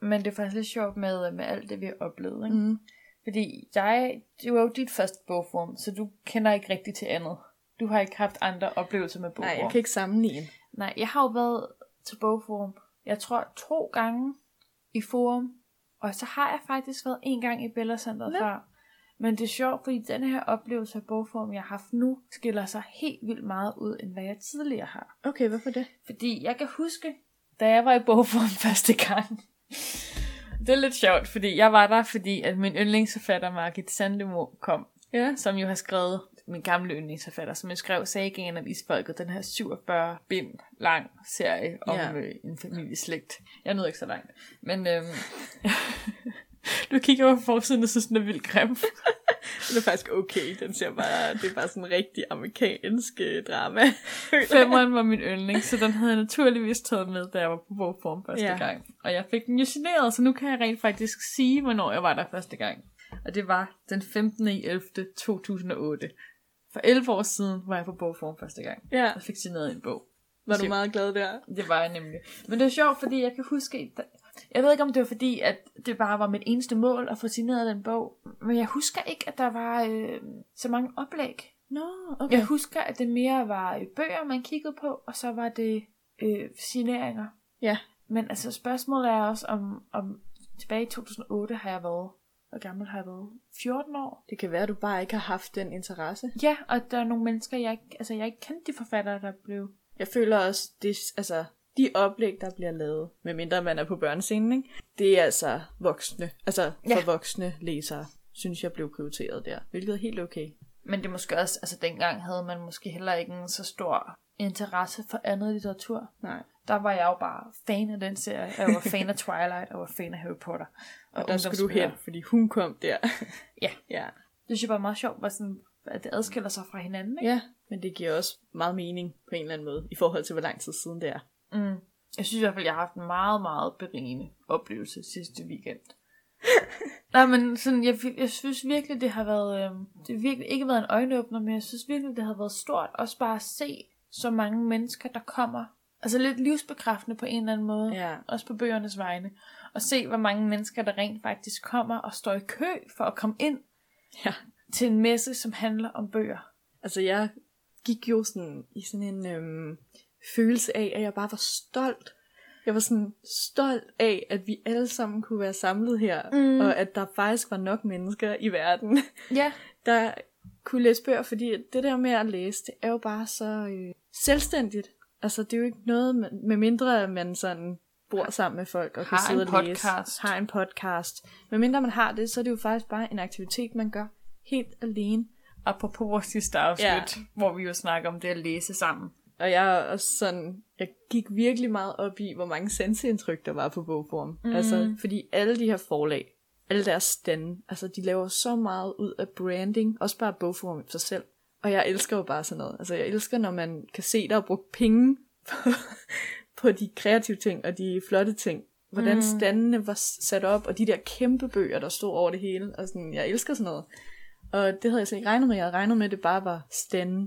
S2: Men det er faktisk lidt sjovt med, med alt det, vi har oplevet. Ikke?
S1: Mm.
S2: Fordi jeg, det var jo dit første bogform, så du kender ikke rigtig til andet. Du har ikke haft andre oplevelser med bogform.
S1: Nej, jeg kan ikke sammenligne.
S2: Nej, jeg har jo været til bogforum, jeg tror to gange i forum, og så har jeg faktisk været en gang i Bella Center
S1: Nå.
S2: før. Men det er sjovt, fordi den her oplevelse af bogforum, jeg har haft nu, skiller sig helt vildt meget ud, end hvad jeg tidligere har.
S1: Okay, hvorfor det?
S2: Fordi jeg kan huske, da jeg var i bogform første gang. Det er lidt sjovt, fordi jeg var der, fordi at min yndlingsforfatter Margit Sandemo kom.
S1: Ja.
S2: Som jo har skrevet, min gamle yndlingsforfatter, som jo skrev Sagen om Isfolket, den her 47 bind lang serie om
S1: Ja.
S2: øh, en familieslægt. Jeg nåede ikke så langt. Men øhm, du kigger over på forsiden og synes, den er vildt grim.
S1: Det er faktisk okay. Den ser bare, det er bare sådan en rigtig amerikansk øh, drama.
S2: Femmeren var min yndling, så den havde jeg naturligvis taget med, da jeg var på bogform første ja.
S1: Ja.
S2: gang. Og jeg fik den jo generet, så nu kan jeg rent faktisk sige, hvornår jeg var der første gang. Og det var den 15. i 11. 2008. For 11 år siden var jeg på bogform første gang.
S1: ja.
S2: Jeg fik generet en bog.
S1: Var du meget glad der?
S2: Det var jeg nemlig. Men det er sjovt, fordi jeg kan huske... Jeg ved ikke, om det var fordi, at det bare var mit eneste mål at få signeret den bog. Men jeg husker ikke, at der var øh, så mange oplæg. Nå, okay. Jeg husker, at det mere var øh, bøger, man kiggede på, og så var det øh, signeringer.
S1: Ja.
S2: Men altså spørgsmålet er også, om, om tilbage i 2008 har jeg været, hvor gammel har jeg været? 14 år?
S1: Det kan være, at du bare ikke har haft den interesse.
S2: Ja, og der er nogle mennesker, jeg ikke, altså jeg ikke kendte de forfattere, der blev...
S1: Jeg føler også, det, altså, de oplæg, der bliver lavet, medmindre man er på børnescenen, ikke? det er altså voksne, altså for
S2: Ja.
S1: voksne læsere, synes jeg blev prioriteret der, hvilket er helt okay.
S2: Men det er måske også, altså dengang havde man måske heller ikke en så stor interesse for andet litteratur.
S1: Nej.
S2: Der var jeg jo bare fan af den serie. Jeg var fan af Twilight, og jeg var fan af Harry Potter.
S1: Og der skulle du
S2: ungdomsbøger.
S1: hen, fordi hun kom der.
S2: Ja.
S1: ja.
S2: Det synes jeg bare er meget sjovt, hvor sådan, at det adskiller sig fra hinanden. Ikke?
S1: Ja, men det giver også meget mening på en eller anden måde, i forhold til, hvor lang tid siden det er.
S2: Mm. Jeg synes i hvert fald, jeg har haft en meget, meget berigende oplevelse sidste weekend. Nej, men sådan, jeg, jeg synes virkelig, det har været, øh, det har virkelig ikke været en øjenåbner, men jeg synes virkelig, det har været stort, også bare at se så mange mennesker, der kommer. Altså lidt livsbekræftende på en eller anden måde,
S1: Ja.
S2: også på bøgernes vegne. Og se, hvor mange mennesker, der rent faktisk kommer og står i kø for at komme ind
S1: Ja.
S2: til en messe, som handler om bøger.
S1: Altså, jeg gik jo sådan i sådan en øhm, følelse af, at jeg bare var stolt. Jeg var sådan stolt af, at vi alle sammen kunne være samlet her,
S2: Mm.
S1: og at der faktisk var nok mennesker i verden,
S2: Ja,
S1: der kunne læse bøger, fordi det der med at læse, det er jo bare så øh, selvstændigt. Altså, det er jo ikke noget, man- med mindre man sådan bor sammen med folk og kan
S2: Har
S1: sidde
S2: en
S1: og læse.
S2: podcast.
S1: Har en podcast. Med mindre man har det, så er det jo faktisk bare en aktivitet, man gør helt alene.
S2: apropos vores sidste afsnit,
S1: Ja.
S2: hvor vi jo snakker om det at læse sammen.
S1: Og jeg er også sådan, jeg gik virkelig meget op i, hvor mange sanseindtryk der var på bogform. Mm. Altså, fordi alle de her forlag, alle deres stande, altså de laver så meget ud af branding, også bare bogform i sig selv. Og jeg elsker jo bare sådan noget. Altså jeg elsker, når man kan se, der er brugt penge på, på de kreative ting og de flotte ting. Hvordan mm. standene var sat op, og de der kæmpe bøger, der stod over det hele. Og sådan, jeg elsker sådan noget. Og det havde jeg slet ikke regnet med. Jeg havde regnet med, at det bare var standen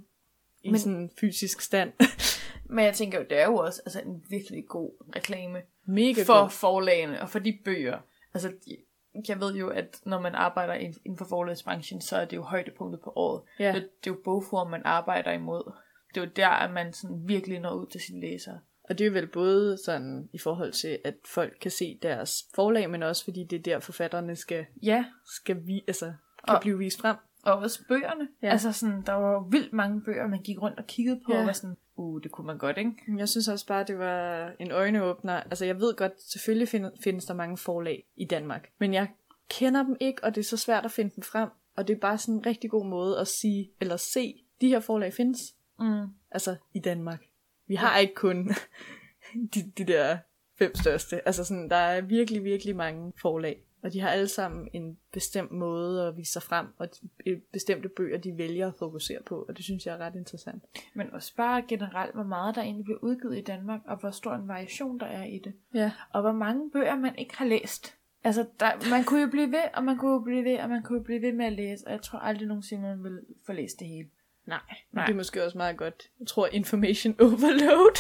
S1: i Men...
S2: Men-
S1: sådan en fysisk stand.
S2: Men jeg tænker jo, det er jo også altså, en virkelig god reklame
S1: Mega
S2: for
S1: god.
S2: forlagene og for de bøger. Altså, de- jeg ved jo, at når man arbejder ind- inden for forlagsbranchen, så er det jo højdepunktet på året.
S1: Ja.
S2: Det, det er jo bogform, man arbejder imod. Det er jo der, at man sådan virkelig når ud til sine læsere.
S1: Og det er vel både sådan i forhold til, at folk kan se deres forlag, men også fordi det er der forfatterne skal,
S2: Ja,
S1: skal vi, altså, kan
S2: Og-
S1: og... blive vist frem.
S2: og også bøgerne. Ja.
S1: Ja.
S2: Altså, sådan, der var jo vildt mange bøger, man gik rundt og kiggede på, ja.
S1: Ja.
S2: og var sådan, uh, det kunne man godt, ikke?
S1: Jeg synes også bare, det var en øjneåbner. Altså jeg ved godt, selvfølgelig find, findes der mange forlag i Danmark, men jeg kender dem ikke, og det er så svært at finde dem frem. Og det er bare sådan en rigtig god måde at sige, eller se, de her forlag findes,
S2: Mm.
S1: altså i Danmark. Vi har ikke kun de, de der fem største. Altså sådan, der er virkelig, virkelig mange forlag. Og de har alle sammen en bestemt måde at vise sig frem, og de- øh, bestemte bøger, de vælger at fokusere på, og det synes jeg er ret interessant.
S2: Men også bare generelt, hvor meget der egentlig bliver udgivet i Danmark, og hvor stor en variation der er i det.
S1: Ja.
S2: og hvor mange bøger man ikke har læst. Altså, der, man kunne jo blive ved, og man kunne jo blive ved, og man kunne jo blive ved med at læse, og jeg tror aldrig nogensinde, man vil få læst det hele.
S1: Nej, men
S2: Nej.
S1: det er måske også meget godt. Jeg tror, information overload.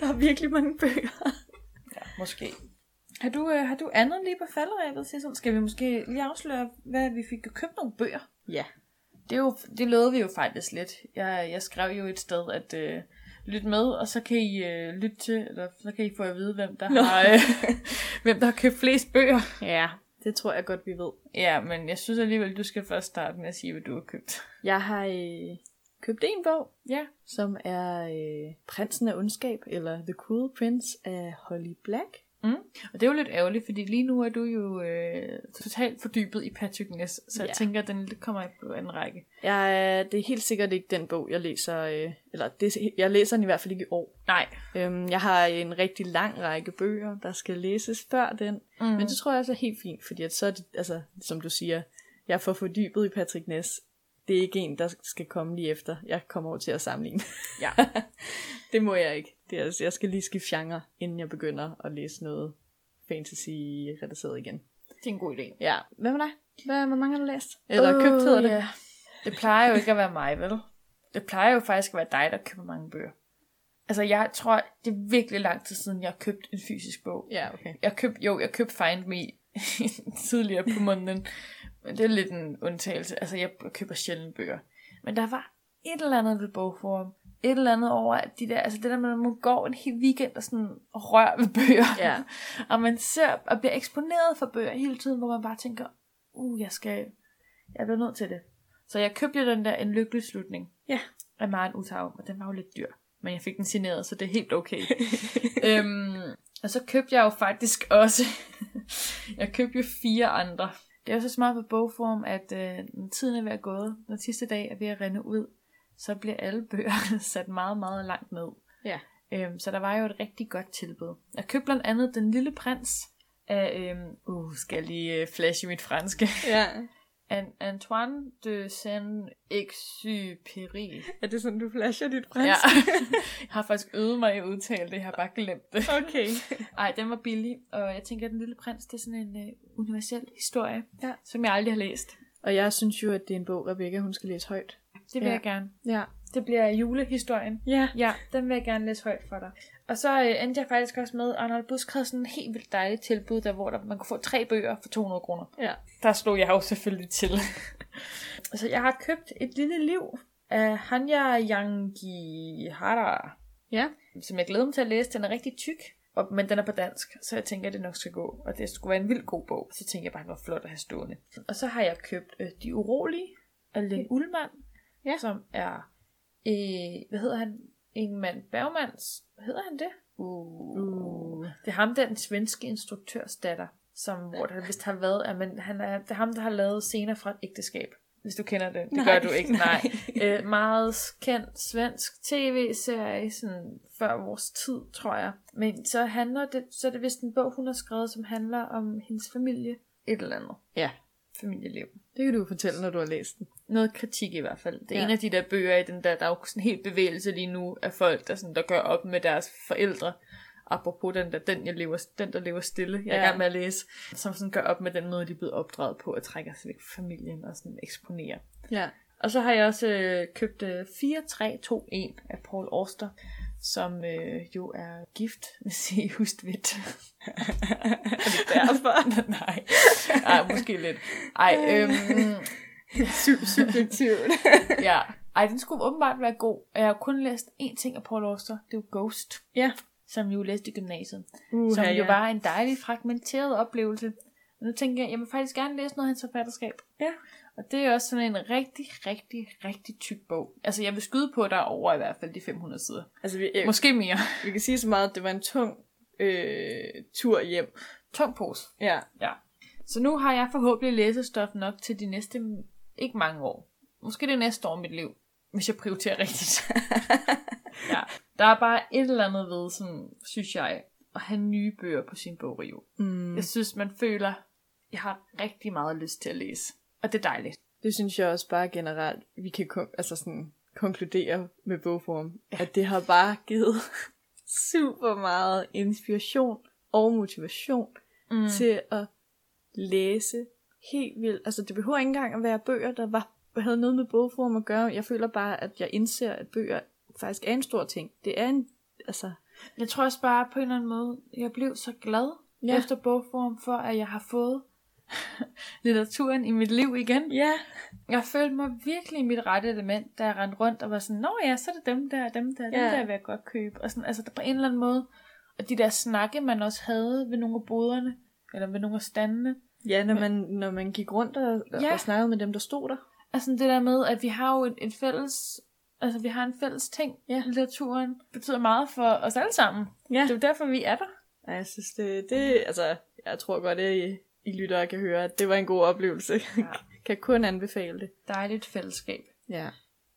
S1: der er virkelig mange bøger.
S2: Måske. Har du, øh, har du andet lige på falderæbet, Sissel? Skal vi måske lige afsløre, hvad vi fik købt nogle bøger?
S1: Ja.
S2: Det, er jo, det lovede vi jo faktisk lidt. Jeg, jeg skrev jo et sted, at øh, lyt med, og så kan I øh, lytte til, eller så kan I få at vide, hvem der, har, øh, hvem der har købt flest bøger.
S1: Ja. Det tror jeg godt, vi ved.
S2: Ja, men jeg synes alligevel, du skal først starte med at sige, hvad du har købt.
S1: Jeg har øh, købt en bog,
S2: Ja.
S1: som er øh, Prinsen af Ondskab, eller The Cool Prince af Holly Black.
S2: Og det er jo lidt ærgerligt, fordi lige nu er du jo øh, totalt fordybet i Patrick Ness, så ja.
S1: Ja.
S2: jeg tænker, at den lidt kommer i på anden række.
S1: Jeg, øh, det er helt sikkert ikke den bog, jeg læser, øh, eller det, jeg læser den i hvert fald ikke i år.
S2: Nej.
S1: Øhm, jeg har en rigtig lang række bøger, der skal læses før den,
S2: Mm.
S1: men det tror jeg også er helt fint, fordi at så er det, altså, som du siger, jeg får fordybet i Patrick Ness. Det er ikke en, der skal komme lige efter. Jeg kommer over til at sammenligne.
S2: Ja.
S1: det må jeg ikke. Det er, altså, jeg skal lige skifte genre, inden jeg begynder at læse noget fantasy-relateret igen.
S2: det er en god idé. Øh,
S1: Ja, hvad med dig? Hvad, hvor mange har du læst? Øh, Eller købt hedder det?
S2: Ja. Det plejer jo ikke at være mig, vel? Det plejer jo faktisk at være dig, der køber mange bøger. Altså, jeg tror, det er virkelig lang tid siden, jeg har købt en fysisk bog.
S1: Ja, okay.
S2: Jeg køb, jo, jeg købte Find Me tidligere på måneden. Men det er lidt en undtagelse. Altså, jeg køber sjældent bøger. Men der var et eller andet ved bogforum. Et eller andet over, at de der, altså det der med, at man går en hel weekend og sådan rører ved bøger.
S1: Ja.
S2: og man ser og bliver eksponeret for bøger hele tiden, hvor man bare tænker, uh, jeg skal, jeg bliver nødt til det. Så jeg købte jo den der En Lykkelig Slutning
S1: Ja.
S2: af Maren Uthav, og den var jo lidt dyr. Men jeg fik den signeret, så det er helt okay. øhm, og så købte jeg jo faktisk også, jeg købte jo fire andre. Det er jo så smart på bogform, at øh, når tiden er ved at gå, når sidste dag er ved at rende ud, så bliver alle bøger sat meget, meget langt ned.
S1: Ja.
S2: Øhm, så der var jo et rigtig godt tilbud. Jeg købte blandt andet Den Lille Prins af, øhm, uh, skal jeg lige øh, flashe mit franske,
S3: Ja.
S2: An- Antoine de Saint-Exupéry.
S3: Er det sådan, du flasher dit prins?
S2: Ja. jeg har faktisk øvet mig i at udtale det, jeg har bare glemt det.
S3: Okay.
S2: Ej, den var billig, og jeg tænker, at Den Lille Prins, det er sådan en øh, universel historie,
S1: Ja.
S2: som jeg aldrig har læst.
S1: Og jeg synes jo, at det er en bog, Rebecca, hun skal læse højt.
S2: Det vil
S1: Ja.
S2: ja. jeg gerne.
S1: Ja.
S2: Det bliver julehistorien.
S1: Ja.
S2: Ja, den vil jeg gerne læse højt for dig. Og så øh, endte jeg faktisk også med, at Arnold Busk havde sådan en helt vildt dejligt tilbud, der, hvor der, man kunne få tre bøger for 200 kroner.
S1: Ja.
S2: Der slog jeg jo selvfølgelig til. så jeg har købt Et Lille Liv af Hanya Yangi Hara,
S1: Ja.
S2: som jeg glæder mig til at læse. Den er rigtig tyk, og, men den er på dansk, så jeg tænker, at det nok skal gå. Og det skulle være en vild god bog, så tænker jeg bare, at det var flot at have stående. Og så har jeg købt øh, De Urolige af Len Ullmann,
S1: Ja.
S2: som er, øh, hvad hedder han? Ingemann Bergmans, hvad hedder han det? Uh.
S1: Uh.
S2: Det er ham, der er den svenske instruktørs datter, som, hvor der vist har været, at man, han er, det er ham, der har lavet scener fra et ægteskab. Hvis du kender den. Det
S3: Nej,
S2: gør du ikke, nej.
S3: nej.
S2: Øh, meget kendt svensk tv-serie, sådan før vores tid, tror jeg. Men så handler det, så er det vist en bog, hun har skrevet, som handler om hendes familie. Et eller andet
S1: Ja.
S2: familieliv.
S1: Det kan du jo fortælle, når du har læst den.
S2: Noget kritik i hvert fald. Det er
S1: Ja.
S2: ja. en af de der bøger i den der, der er jo sådan helt bevægelse lige nu af folk, der, sådan, der gør op med deres forældre. Apropos den der, den, jeg lever, den der lever stille, jeg er
S1: Ja.
S2: i gang med at læse, som sådan gør op med den måde, de er blevet opdraget på, og trækker sig væk fra familien og sådan eksponerer.
S1: Ja.
S2: Og så har jeg også øh, købt øh, 4321 af Paul Auster, som øh, jo er gift med C. Hustvedt. er det derfor? Nej. Ej, måske lidt. Ej, øhm,
S3: Syv- Subjektivt.
S2: ja. Ej, den skulle åbenbart være god. Og Jeg har kun læst én ting af Paul Auster. Det er jo Ghost,
S1: Ja.
S2: som jeg jo læste i gymnasiet.
S1: Uh,
S2: som jo var en dejlig, fragmenteret oplevelse. Og nu tænker jeg, jeg vil faktisk gerne læse noget af hans forfatterskab.
S1: Ja.
S2: Og det er også sådan en rigtig, rigtig, rigtig tyk bog. Altså, jeg vil skyde på dig over i hvert fald de 500 sider.
S1: Altså, vi, øh,
S2: Måske mere.
S1: vi kan sige så meget, at det var en tung øh, tur hjem.
S2: Tung pose.
S1: Ja.
S2: Ja. Så nu har jeg forhåbentlig læsestof nok til de næste, ikke mange år. Måske det næste år i mit liv, hvis jeg prioriterer rigtigt. ja. Der er bare et eller andet ved, sådan, synes jeg, at have nye bøger på sin bogreol.
S1: Mm.
S2: Jeg synes, man føler, jeg har rigtig meget lyst til at læse. Og det er dejligt.
S1: Det synes jeg også bare generelt, vi kan kon- altså sådan, konkludere med bogform, at det har bare givet super meget inspiration og motivation
S2: Mm.
S1: mm. til at læse helt vildt. Altså det behøver ikke engang at være bøger, der var, havde noget med bogform at gøre. Jeg føler bare, at jeg indser, at bøger faktisk er en stor ting. Det er en, altså...
S2: Jeg tror også bare på en eller anden måde, jeg blev så glad
S1: Ja.
S2: ja. efter bogform for, at jeg har fået litteraturen i mit liv igen.
S1: Ja.
S2: Jeg følte mig virkelig i mit rette element, da jeg rendte rundt og var sådan, Nå ja, så er det dem der, dem der, ja.
S1: Ja.
S2: dem der vil jeg godt købe. Og sådan, altså der på en eller anden måde. Og de der snakke, man også havde ved nogle af boderne, eller ved nogle af standene.
S1: Ja, når man, når man gik rundt og, ja.
S2: Ja.
S1: og snakkede med dem, der stod der.
S2: Altså det der med, at vi har jo en, en fælles, altså vi har en fælles ting.
S1: Ja.
S2: Litteraturen betyder meget for os alle sammen.
S1: Ja.
S2: Det er jo derfor, vi er der.
S1: Ej, jeg synes, det, det altså, jeg tror godt, at I, I lyttere kan høre, at det var en god oplevelse. Ja. kan kun anbefale det.
S2: Dejligt fællesskab.
S1: Ja.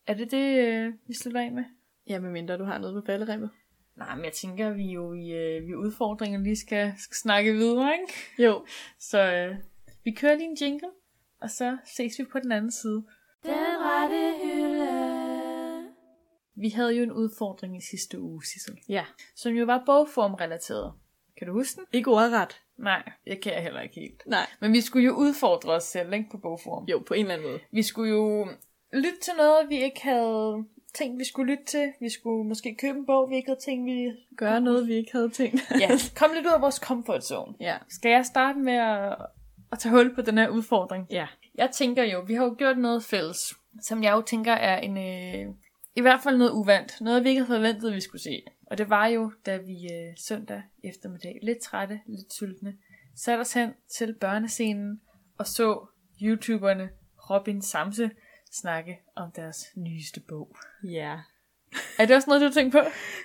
S2: Er det det, øh, vi slutter af med?
S1: Ja, medmindre du har noget på ballerimmet.
S2: Nej, men jeg tænker, at vi jo i, øh, vi udfordringer lige skal, skal snakke videre, ikke?
S1: Jo.
S2: Så øh, vi kører lige en jingle, og så ses vi på den anden side.
S4: Den rette hylde.
S2: Vi havde jo en udfordring i sidste uge, Sissel,
S1: Ja.
S2: som jo var bogformrelateret. Kan du huske den?
S1: Ikke ordret.
S2: Nej, jeg kan jeg heller ikke helt.
S1: Nej.
S2: Men vi skulle jo udfordre os selv, ikke, på bogform.
S1: Jo, på en eller anden måde.
S2: Vi skulle jo lytte til noget, vi ikke havde tænkt, vi skulle lytte til. Vi skulle måske købe en bog, vi ikke havde tænkt, vi...
S1: Gøre noget, vi ikke havde tænkt.
S2: Ja, kom lidt ud af vores comfort zone.
S1: ja.
S2: Skal jeg starte med at, at tage hul på den her udfordring?
S1: Ja.
S2: Jeg tænker jo, vi har jo gjort noget fælles. som jeg jo tænker er en, øh, i hvert fald noget uvandt. Noget, vi ikke havde forventet, vi skulle se. Og det var jo, da vi øh, søndag eftermiddag, lidt trætte, lidt sultne, satte os hen til børnescenen og så YouTuberne Robin Samse snakke om deres nyeste bog.
S1: Ja.
S2: Er det også noget, du tænkte på?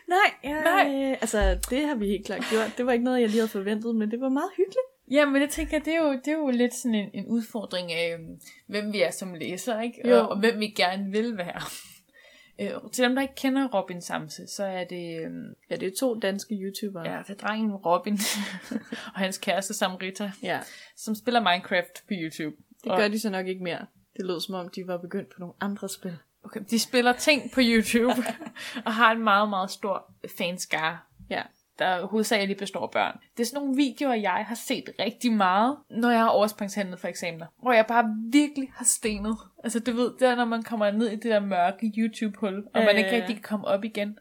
S1: Nej, jeg,
S2: Nej.
S1: Nej, altså det har vi helt klart gjort. Det var ikke noget, jeg lige havde forventet, men det var meget hyggeligt.
S2: Ja, men det tænker jeg, det er jo, det er jo lidt sådan en, en udfordring af, øhm, hvem vi er som læser, ikke?
S1: Jo.
S2: Og, og hvem vi gerne vil være. øh, til dem, der ikke kender Robin Samse, så er det, øhm,
S1: Ja, det er to danske YouTubere.
S2: ja, det er drengen Robin og hans kæreste Samrita,
S1: ja.
S2: som spiller Minecraft på YouTube.
S1: Det
S2: og,
S1: gør de så nok ikke mere. Det lød som om, de var begyndt på nogle andre spil.
S2: Okay, de spiller ting på YouTube og har en meget, meget stor fanskare.
S1: Ja.
S2: der hovedsageligt består af børn. Det er sådan nogle videoer, jeg har set rigtig meget, når jeg har overspringshandlet for eksamener. Hvor jeg bare virkelig har stenet. Altså du ved, det er når man kommer ned i det der mørke YouTube-hul, og man
S1: Øh.
S2: ikke rigtig kan komme op igen.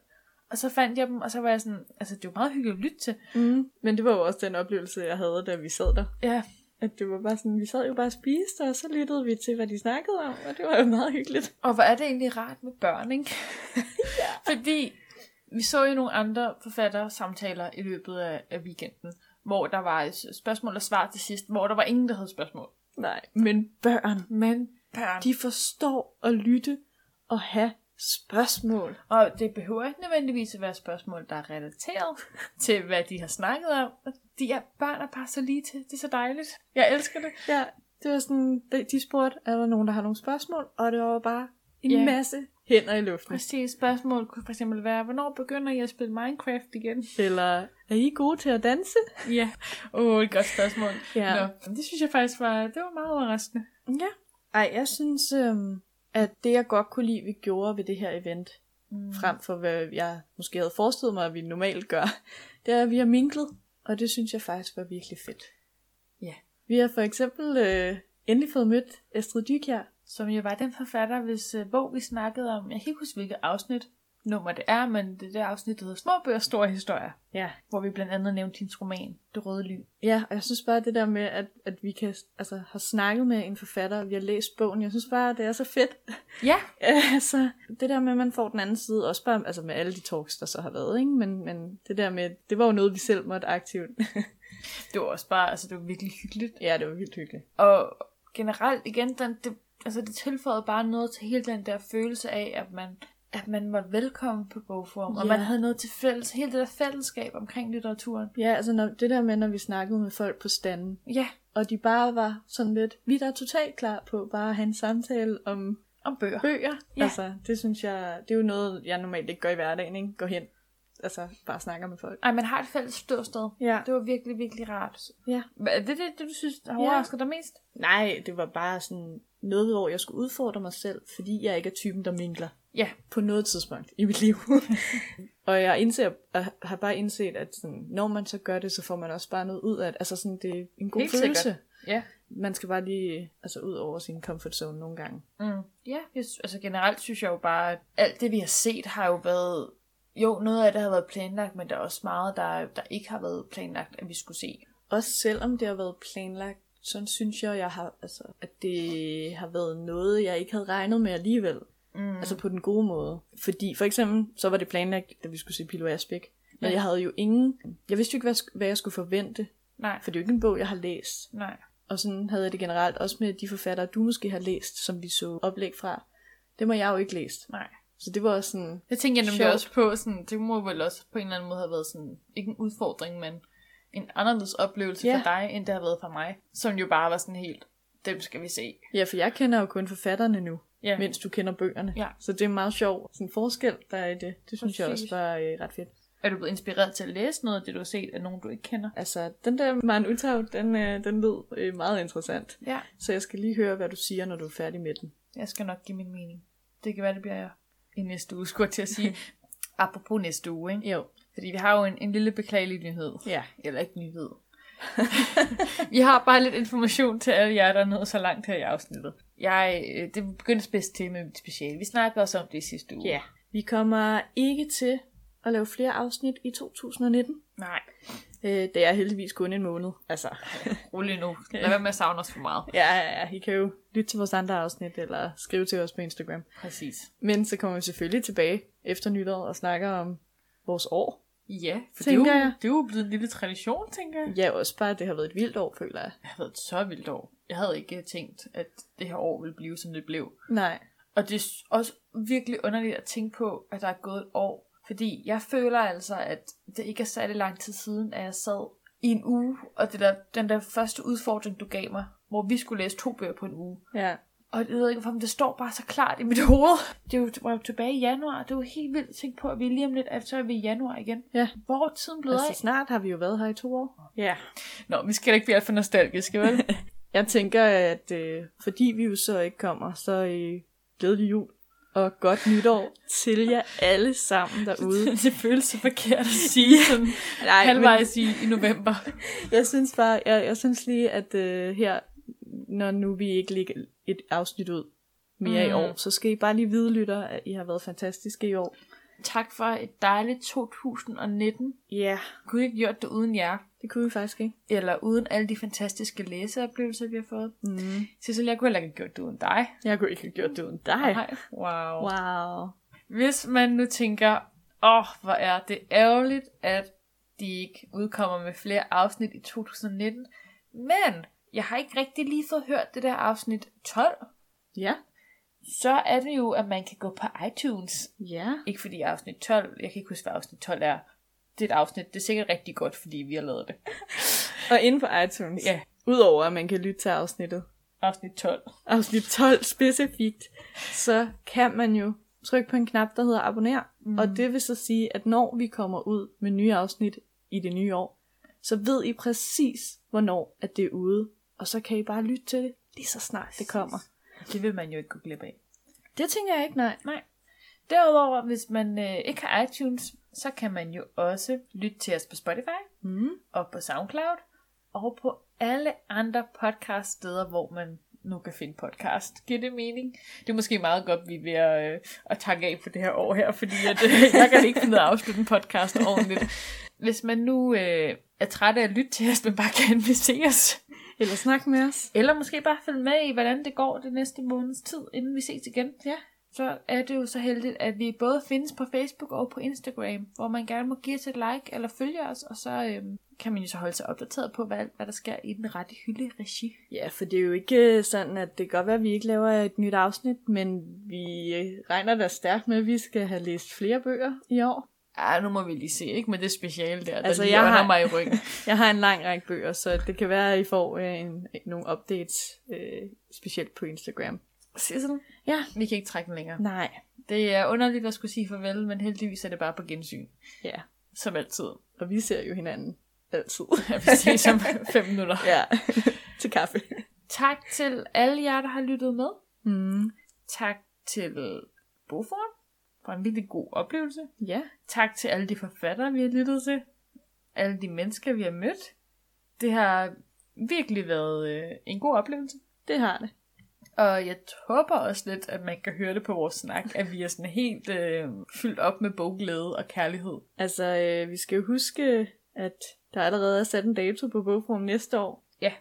S2: Og så fandt jeg dem, og så var jeg sådan, altså det er jo meget hyggeligt at lytte til.
S1: Mm. Men det var jo også den oplevelse, jeg havde, da vi sad der.
S2: Ja,
S1: At det var bare sådan, vi sad jo bare og spiste, og så lyttede vi til, hvad de snakkede om, og det var jo meget hyggeligt.
S2: og hvor er det egentlig rart med børn, ikke? ja. Fordi vi så jo nogle andre forfattere samtaler i løbet af, af weekenden, hvor der var et spørgsmål og svar til sidst, hvor der var ingen, der havde spørgsmål.
S1: Nej, men børn,
S2: Men børn.
S1: de forstår at lytte og have spørgsmål.
S2: Og det behøver ikke nødvendigvis at være spørgsmål, der er relateret til, hvad de har snakket om. Og De er børn er bare så lige til. Det er så dejligt. Jeg elsker det.
S1: Ja, det var sådan, de, de spurgte, er der nogen, der har nogle spørgsmål, og det var bare en
S2: Ja.
S1: masse hænder i luften.
S2: Præcis. Spørgsmål kunne for eksempel være, hvornår begynder jeg at spille Minecraft igen?
S1: Eller, er I gode til at danse?
S2: Ja. Åh, oh, et godt spørgsmål.
S1: Ja.
S2: Nå, det synes jeg faktisk var, det var meget overraskende.
S1: Ja. Ej, jeg synes, øhm, at det jeg godt kunne lide, vi gjorde ved det her event, mm. frem for hvad jeg måske havde forestillet mig, at vi normalt gør, det er, at vi har minklet, og det synes jeg faktisk var virkelig fedt.
S2: Ja.
S1: Vi har for eksempel øh, endelig fået mødt Astrid Dykjær.
S2: Som jo var den forfatter, hvis øh, bog vi snakkede om. Jeg kan ikke huske, hvilket afsnit nummer det er, men det der afsnit, der hedder Små bøger, store historier.
S1: Ja.
S2: Hvor vi blandt andet nævnte hendes roman, Det Røde Lyn.
S1: Ja, og jeg synes bare det der med, at, at vi kan, altså, har snakket med en forfatter, og vi har læst bogen, jeg synes bare, at det er så fedt.
S2: Ja,
S1: altså, det der med, at man får den anden side, også bare altså med alle de talks, der så har været, ikke? Men, men det der med, det var jo noget, vi selv måtte aktivt.
S2: det var også bare, altså det var virkelig hyggeligt.
S1: ja, det var vildt hyggeligt.
S2: Og generelt igen, den, det, altså det tilføjede bare noget til hele den der følelse af, at man, at man var velkommen på bogforum, og
S1: Ja.
S2: man havde noget til fælles, hele det der fællesskab omkring litteraturen.
S1: Ja, altså når, det der med, når vi snakkede med folk på standen,
S2: Ja,
S1: og de bare var sådan lidt, vi der er totalt klar på bare at have en samtale om
S2: om bøger.
S1: bøger.
S2: Ja.
S1: Altså, det synes jeg, det er jo noget, jeg normalt ikke gør i hverdagen, ikke? Går hen, altså bare snakker med folk.
S2: Ej, man har et fælles ståsted.
S1: Ja.
S2: Det var virkelig, virkelig rart.
S1: Ja.
S2: Hva- Er det det, det du synes, der overrasker dig mest?
S1: Nej, det var bare sådan noget, hvor jeg skulle udfordre mig selv, fordi jeg ikke er typen, der minkler.
S2: Ja.
S1: på noget tidspunkt i mit liv. og jeg indser, og har bare indset, at sådan, når man så gør det, så får man også bare noget ud af det. Altså sådan, det er en god
S2: Helt
S1: følelse.
S2: sikkert. Ja.
S1: Man skal bare lige altså, ud over sin comfort zone nogle gange.
S2: Mm. Ja, jeg, sy- altså generelt synes jeg jo bare, at alt det vi har set har jo været, jo noget af det har været planlagt, men der er også meget, der, der ikke har været planlagt, at vi skulle se.
S1: Også selvom det har været planlagt, så synes jeg, jeg har, altså, at det har været noget, jeg ikke havde regnet med alligevel. Mm. Altså på den gode måde. Fordi for eksempel, så var det planlagt, da vi skulle se Pilo Asbæk. Men
S2: Ja.
S1: jeg havde jo ingen... Jeg vidste jo ikke, hvad jeg sk- hvad jeg skulle forvente.
S2: Nej,
S1: For det er jo ikke en bog, jeg har læst.
S2: nej.
S1: Og sådan havde jeg det generelt også med de forfattere, du måske har læst, som vi så oplæg fra. Dem har jeg jo ikke læst.
S2: Nej.
S1: Så det var også sådan,
S2: Jeg tænker nemlig
S1: Sjovt.
S2: også på, sådan, det må vel også på en eller anden måde have været sådan, ikke en udfordring, men en anderledes oplevelse
S1: Ja.
S2: for dig, end det har været for mig. Som jo bare var sådan helt, dem skal vi se.
S1: ja, for jeg kender jo kun forfatterne nu,
S2: Ja.
S1: mens du kender bøgerne.
S2: Ja.
S1: Så det er en meget sjov sådan forskel, der er i det. Det synes Præcis. jeg
S2: Præcis.
S1: også var øh, ret fedt.
S2: Er du blevet inspireret til at læse noget af det, du har set af nogen, du ikke kender?
S1: Altså, den der Maren Uthav, den, øh, den lød øh, meget interessant.
S2: Ja.
S1: Så jeg skal lige høre, hvad du siger, når du er færdig med den.
S2: Jeg skal nok give min mening. Det kan være, det bliver jeg i næste uge, skulle jeg til at sige. Apropos næste uge, ikke?
S1: Jo.
S2: Fordi vi har jo en, en lille beklagelig nyhed.
S1: Ja.
S2: Eller ikke nyhed. vi har bare lidt information til alle jer, der er nået så langt her i afsnittet. Jeg, øh, det begyndte bedst til med mit speciale. Vi snakkede også om det i sidste uge.
S1: Vi kommer ikke til at lave flere afsnit i 2019.
S2: Nej.
S1: Øh, det er heldigvis kun en måned. Altså,
S2: Rolig nu. Lad være med at savne os for meget.
S1: ja, ja, ja, I kan jo lytte til vores andre afsnit, eller skrive til os på Instagram.
S2: Præcis.
S1: Men så kommer vi selvfølgelig tilbage efter nytår og snakker om vores år.
S2: Ja, for det er, jo,
S1: Tænker jeg.
S2: det er jo blevet en lille tradition, tænker jeg.
S1: Ja, også bare, at det har været et vildt år, føler jeg.
S2: Det har været et så vildt år. Jeg havde ikke tænkt, at det her år ville blive, som det blev.
S1: Nej.
S2: Og det er s- også virkelig underligt at tænke på, at der er gået et år. Fordi jeg føler altså, at det ikke er særlig lang tid siden, at jeg sad i en uge, og det der, den der første udfordring, du gav mig, hvor vi skulle læse to bøger på en uge.
S1: Ja.
S2: Og jeg ved ikke, hvorfor, men det står bare så klart i mit hoved. Det var jo- var jo tilbage i januar, det var helt vildt at tænke på, at vi lige om lidt, at så er vi i januar igen.
S1: Ja.
S2: Hvor er tiden blevet
S1: Altså,
S2: altså,
S1: snart har vi jo været her i to år. Ja.
S2: af? Nå, vi skal da ikke blive alt for nostalgiske, vel?
S1: Jeg tænker, at øh, fordi vi jo så ikke kommer, så øh, glædelig jul og godt nytår til jer alle sammen derude.
S2: det føles så forkert at sige sådan
S1: Nej,
S2: halvvejs i, i november.
S1: jeg synes bare, jeg, jeg synes lige, at øh, her, når nu vi ikke lægger et afsnit ud mere mm. i
S2: Mm.
S1: år, så skal I bare lige vide, lytter, at I har været fantastiske i år.
S2: Tak for et dejligt 2019.
S1: Ja, yeah.
S2: Kunne vi ikke gjort det uden jer?
S1: det kunne vi faktisk ikke.
S2: Eller uden alle de fantastiske læseoplevelser, vi har fået.
S1: Mm.
S2: Cecilie, jeg kunne heller ikke have gjort det uden dig.
S1: Jeg kunne ikke have gjort det uden dig.
S2: Nej. Wow. wow.
S1: Wow.
S2: Hvis man nu tænker, åh, oh, hvor er det ærgerligt, at de ikke udkommer med flere afsnit i 2019. Men jeg har ikke rigtig lige fået hørt det der afsnit 12.
S1: Ja.
S2: Så er det jo, at man kan gå på iTunes
S1: Ja.
S2: Ikke fordi afsnit 12, jeg kan ikke huske, hvad afsnit 12 er. Det er et afsnit, det er sikkert rigtig godt, fordi vi har lavet det.
S1: Og inde på iTunes.
S2: Ja.
S1: Udover at man kan lytte til afsnittet,
S2: Afsnit 12.
S1: afsnit 12 specifikt, så kan man jo trykke på en knap, der hedder abonner. Mm. Og det vil så sige, at når vi kommer ud med nye afsnit i det nye år, så ved I præcis, hvornår at det er ude. Og så kan I bare lytte til det, lige så snart det kommer.
S2: Det vil man jo ikke gå glip af.
S1: Det tænker jeg ikke, nej.
S2: Nej. Derudover, hvis man øh, ikke har iTunes, så kan man jo også lytte til os på Spotify
S1: Mm.
S2: og på SoundCloud og på alle andre podcast steder, hvor man nu kan finde podcast. Giver det mening? Det er måske meget godt, vi er ved at, øh, at takke af for det her år her, fordi at, øh, jeg kan ikke finde ud af at afslutte en podcast ordentligt. Hvis man nu øh, er træt af at lytte til os, men bare gerne vil se os,
S1: Eller snak med os.
S2: eller måske bare følge med i, hvordan det går det næste måneds tid, inden vi ses igen, ja. så er det jo så heldigt, at vi både findes på Facebook og på Instagram, hvor man gerne må give os et like eller følge os, og så øhm, kan man jo så holde sig opdateret på, hvad, hvad der sker i den rette hylde regi.
S1: Ja, for det er jo ikke øh, sådan, at det kan godt være, at vi ikke laver et nyt afsnit, men vi øh, regner da stærkt med, at vi skal have læst flere bøger i år.
S2: Ah, nu må vi lige se, ikke med det speciale der,
S1: Altså,
S2: der lige
S1: jeg
S2: ånder
S1: har-
S2: mig i ryggen.
S1: Jeg har en lang række bøger, så det kan være, at I får øh, en, nogle updates, øh, specielt på Instagram.
S2: Sissel?
S1: Ja.
S2: Vi kan ikke trække den længere.
S1: Nej.
S2: Det er underligt at skulle sige farvel, men heldigvis er det bare på gensyn.
S1: Ja,
S2: Som altid.
S1: og vi ser jo hinanden altid.
S2: Ja, vi ses om fem minutter.
S1: ja, til kaffe.
S2: Tak til alle jer, der har lyttet med.
S1: Mm.
S2: Tak til Boforen for en virkelig god oplevelse.
S1: Ja,
S2: Tak til alle de forfattere, vi har lyttet til. Alle de mennesker, vi har mødt. Det har virkelig været øh, en god oplevelse.
S1: det har det.
S2: Og jeg håber også lidt, at man kan høre det på vores snak, at vi er sådan helt øh, fyldt op med bogglæde og kærlighed.
S1: Altså, øh, vi skal jo huske, at der allerede er sat en dato på bogforum næste år.
S2: Ja,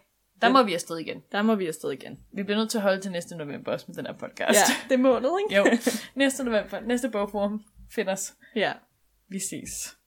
S2: der må vi afsted igen.
S1: Der må vi afsted igen.
S2: Vi bliver nødt til at holde til næste november også med den her podcast.
S1: Ja, det er målet, ikke?
S2: jo, næste november, næste bogforum. Find os.
S1: Ja.
S2: Vi ses.